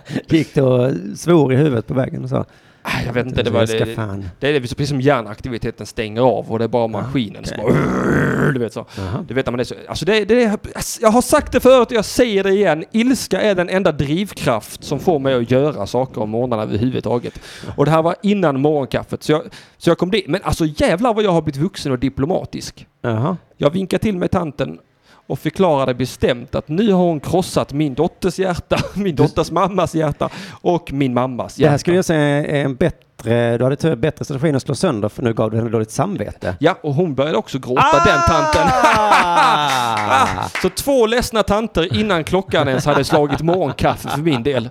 S1: Gick du och svor i huvudet på vägen och sa...
S2: Ah, jag vet inte, det var
S1: "Jag ska
S2: det.
S1: fan.
S2: Det är precis som hjärnaktiviteten stänger av och det är bara maskinen som bara... Du vet så. Du vet när man är så... Alltså det, det är, jag har sagt det förut och jag säger det igen. Ilska är den enda drivkraft som får mig att göra saker om morgnarna överhuvudtaget. Och det här var innan morgonkaffet. Så jag, så jag kom dit. Men alltså jävlar vad jag har blivit vuxen och diplomatisk.
S1: Jaha.
S2: Jag vinkar till mig tanten och förklarade bestämt att nu har hon krossat min dotters hjärta, min dotters mammas hjärta och min mammas
S1: Det
S2: hjärta.
S1: här skulle jag säga är en bättre... Du hade tur- bättre strategi än att slå sönder, för nu gav du henne dåligt samvete.
S2: Ja, och hon började också gråta, den tanten. Ah, Så två ledsna tanter innan klockan ens hade slagit morgonkaffe för min del.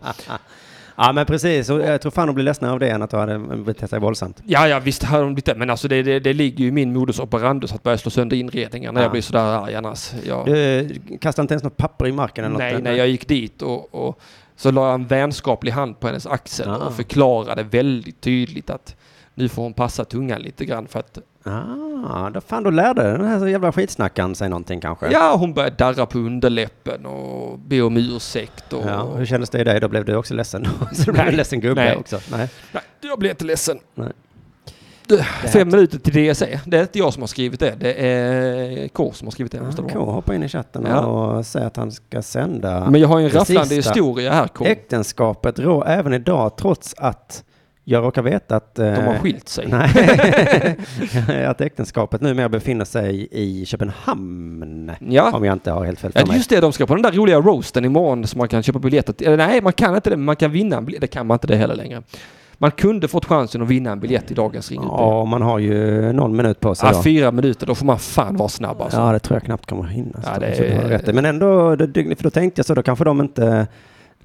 S1: Ja, men precis. Och jag tror fan hon blir ledsnare av det än att du hade betett dig våldsamt.
S2: Ja, ja, visst hade hon blivit det, men alltså det, det, det ligger ju i min modus operandus att börja slå sönder inredningar när
S1: Ja.
S2: jag blir sådär arg annars. Jag,
S1: Du kastade inte ens något papper i marken eller
S2: nej,
S1: något?
S2: när jag gick dit och, och så la jag en vänskaplig hand på hennes axel
S1: Ah.
S2: och förklarade väldigt tydligt att nu får hon passa tungan lite grann för att
S1: Ah, då fan, då lärde den här jävla skitsnackaren sig någonting kanske.
S2: ja, hon började darra på underläppen och be om ursäkt. Och,
S1: Ja, hur kändes det i dig? Då blev du också ledsen. Så du blev
S2: Nej.
S1: en ledsen gubbe
S2: Nej.
S1: också. Nej.
S2: Nej, jag blir inte ledsen.
S1: Nej.
S2: Du, Fem minuter till DSE. Det är inte jag som har skrivit det. Det är K som har skrivit det. måste det
S1: K
S2: vara.
S1: hoppar in i chatten
S2: Ja.
S1: och säger att han ska sända.
S2: Men jag har ju en
S1: det
S2: rafflande
S1: sista.
S2: historia här K.
S1: Äktenskapet rå även idag trots att jag råkar veta att... eh,
S2: De har skilt sig.
S1: Nej, att äktenskapet numera befinner sig i Köpenhamn.
S2: Ja.
S1: Om jag inte har helt fel för
S2: ja,
S1: mig.
S2: just det. De ska på den där roliga roasten imorgon som man kan köpa biljetter till. Eller nej, man kan inte det. men Man kan vinna en biljett. Det kan man inte det heller längre. Man kunde fått chansen att vinna en biljett i dagens ring.
S1: Ja, man har ju någon minut på sig
S2: ah,
S1: då.
S2: fyra minuter, då får man fan vara snabb alltså.
S1: Ja, det tror jag knappt kommer att hinna.
S2: Ja,
S1: så
S2: det
S1: så du har
S2: är-
S1: rätt i. Men ändå, det dygn- för då tänkte jag så, då kanske de inte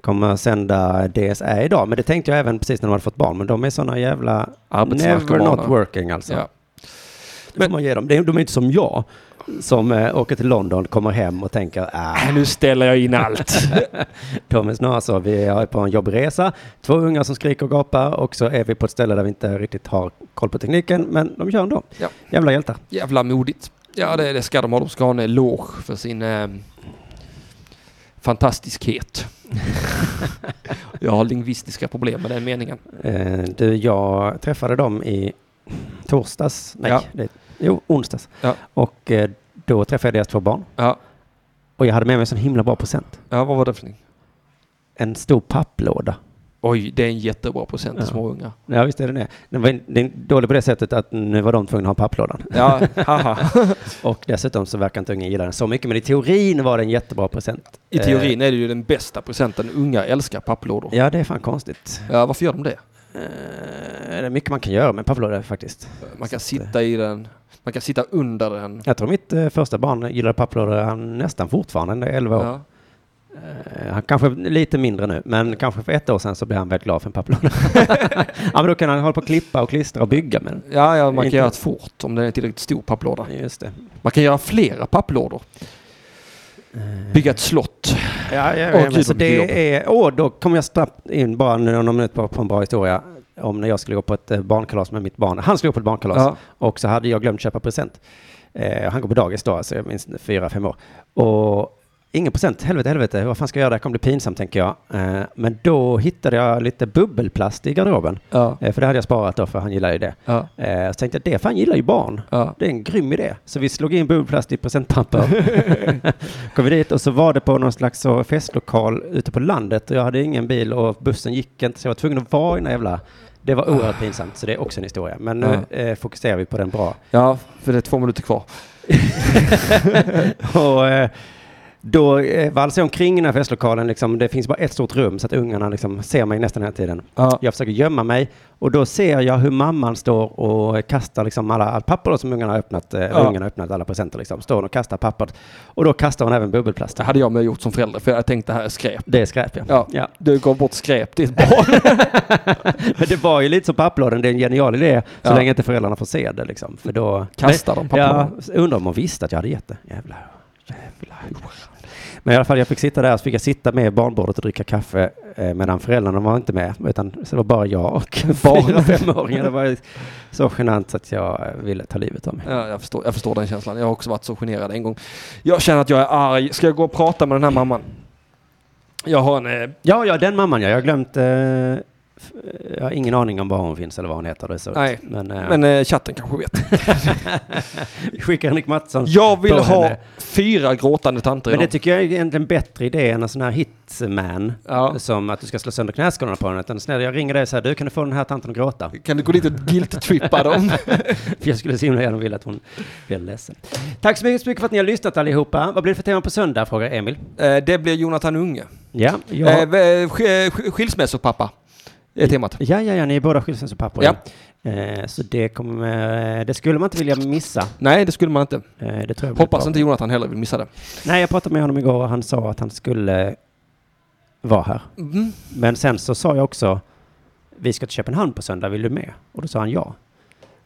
S1: kommer att sända DSA idag. Men det tänkte jag även precis när de hade fått barn. Men de är sådana jävla never
S2: Arbetsnarkomaner.
S1: not working alltså.
S2: Ja.
S1: Det får man ge dem. Det är- De är inte som jag som eh, åker till London, kommer hem och tänker ah,
S2: Äh, Nu ställer jag in allt.
S1: de är snarare så, alltså, vi är på en jobbresa, två unga som skriker och gapar och så är vi på ett ställe där vi inte riktigt har koll på tekniken, men de kör ändå.
S2: Ja.
S1: Jävla hjältar.
S2: Jävla modigt. Ja, det, det ska de ha. De ska ha en eloge för sin eh, fantastiskhet. jag har lingvistiska problem med den meningen.
S1: Eh, du, jag träffade dem i torsdags, nej,
S2: Ja.
S1: det, jo, onsdags.
S2: Ja.
S1: Och eh, då träffade jag deras två barn.
S2: Ja,
S1: Och jag hade med mig en sån himla bra present.
S2: ja vad var det för någonting?
S1: En stor papplåda.
S2: Oj, det är en jättebra procent till
S1: Ja.
S2: små unga.
S1: Ja, visst är det det. Den var den är dålig på det sättet att nu var de tvungna att ha papplådan.
S2: Ja, haha.
S1: Och dessutom så verkar inte ungen gilla den så mycket, men i teorin var det en jättebra present.
S2: I teorin är det ju den bästa presenten. Unga älskar papplådor.
S1: Ja, det är fan konstigt.
S2: Ja, varför gör de det?
S1: Eh, det är mycket man kan göra med papplådor faktiskt. eh,
S2: Man kan sitta i den. Man kan sitta under den.
S1: Jag tror mitt eh, första barn gillade papplådor han nästan fortfarande, han är 11 år.
S2: Ja.
S1: Eh, Han kanske är lite mindre nu, men kanske för ett år sedan så blev han väldigt glad för en papplåda. ja, men då kan han hålla på och klippa och klistra och bygga med den.
S2: Ja, ja, man kan
S1: Inte-
S2: göra ett fort om den är en tillräckligt stor papplåda.
S1: Just det.
S2: Man kan göra flera papplådor. Bygga ett slott.
S1: Ja, ja,
S2: Åh,
S1: ja, men
S2: gud,
S1: så
S2: vad mycket
S1: det är, åh, då kom jag snabbt in bara nu någon minut på, på en bra historia. Om när jag skulle gå på ett eh, barnkalas med mitt barn. Han skulle gå på ett barnkalas.
S2: Ja.
S1: Och så hade jag glömt köpa present. Eh, han går på dagis då, alltså jag minns fyra, fem år. Och ingen present, helvete, helvete, vad fan ska jag göra? Det här kommer bli pinsamt tänker jag. Eh, men då hittade jag lite bubbelplast i garderoben.
S2: Ja.
S1: Eh, för det hade jag sparat då, för han gillar ju det.
S2: Ja.
S1: Eh, så tänkte jag, det fan gillar ju barn.
S2: Ja.
S1: Det är en grym idé. Så vi slog in bubbelplast i presentpapper. Kom vi dit och så var det på någon slags så festlokal ute på landet och jag hade ingen bil och bussen gick inte så jag var tvungen att vara i den här jävla... Det var oerhört pinsamt så det är också en historia. Men nu eh, fokuserar vi på den bra.
S2: ja, för det är två minuter kvar.
S1: och eh, då eh, valsade jag omkring i den här festlokalen liksom. Det finns bara ett stort rum så att ungarna liksom ser mig nästan hela tiden.
S2: Ja.
S1: Jag försöker gömma mig och då ser jag hur mamman står och kastar liksom alla allt papper då som ungarna har öppnat. Eh,
S2: Ja.
S1: Ungarna har öppnat alla presenter liksom. Står hon och kastar papper. Och då kastar hon även bubbelplast.
S2: Det hade jag med gjort som förälder, för jag tänkte det här är skräp.
S1: Det är skräp ja.
S2: Ja,
S1: ja.
S2: du gav bort skräp till ett barn.
S1: Men det var ju lite som papplådan, det är en genial idé. Så
S2: Ja.
S1: länge inte föräldrarna får se det liksom. För då...
S2: Kastar de
S1: Ja,
S2: papplådan?
S1: undrar om hon visste att jag hade gett det. Jävlar. Jävlar. Men i alla fall, jag fick sitta där, så fick jag sitta med barnbordet och dricka kaffe. Eh, medan föräldrarna var inte med, utan så det var bara jag och fyra femåringar. Det var ju så genant så att jag eh, ville ta livet av mig.
S2: Ja, jag, förstår, jag förstår den känslan. Jag har också varit så generad en gång. Jag känner att jag är arg. Ska jag gå och prata med den här mamman? Jag har en... eh,
S1: Ja, ja, den mamman ja. Jag har glömt... Eh, f- jag har ingen aning om var hon finns eller vad hon heter. Det är så.
S2: Nej,
S1: Men, eh,
S2: Men eh, chatten kanske vet.
S1: vi skickar Henrik Mattsson.
S2: Jag vill
S1: på
S2: ha
S1: henne.
S2: fyra gråtande tanter
S1: Men det
S2: idag.
S1: tycker jag är egentligen en bättre idé än en sån här hitman.
S2: Ja.
S1: Som att du ska slå sönder knäskålarna på den. Utan snälla, jag ringer dig och säger du kan du få den här tanten att gråta?
S2: Kan du gå dit och guilt-trippa dem?
S1: För jag skulle så himla gärna vilja att hon blev ledsen. Tack så mycket, så mycket för att ni har lyssnat allihopa. Vad blir det för tema på söndag? Frågar Emil.
S2: Eh, det blir Jonathan Unge.
S1: Ja, ja.
S2: Eh, v- sk- sk- Skilsmässopappa är temat.
S1: ja, ja, ja, ni är båda skilsmässopappor.
S2: Ja.
S1: Eh, så det, kommer, eh, det skulle man inte vilja missa.
S2: Nej, det skulle man inte.
S1: Eh, det tror jag blir
S2: Hoppas
S1: bra.
S2: inte Jonathan heller vill missa det.
S1: Nej, jag pratade med honom igår och han sa att han skulle vara här.
S2: Mm.
S1: Men sen så sa jag också, vi ska till Köpenhamn på söndag, vill du med? Och då sa han ja.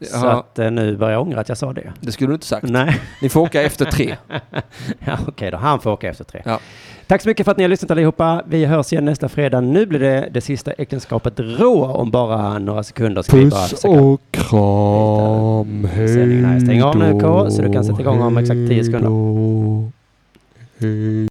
S1: Så
S2: Ja,
S1: att eh, nu börjar jag ångra att jag sa det.
S2: det skulle du inte sagt.
S1: Nej,
S2: Ni får åka efter tre.
S1: ja, okej då. Han får åka efter tre.
S2: Ja.
S1: Tack så mycket för att ni har lyssnat allihopa. Vi hörs igen nästa fredag. Nu blir det det sista äktenskapet rå om bara några sekunder. Ska vi bara försöka-
S2: kram.
S1: Sändningen här. Stäng av nu, K, så du kan sätta igång om exakt 10 sekunder.
S2: sekunder.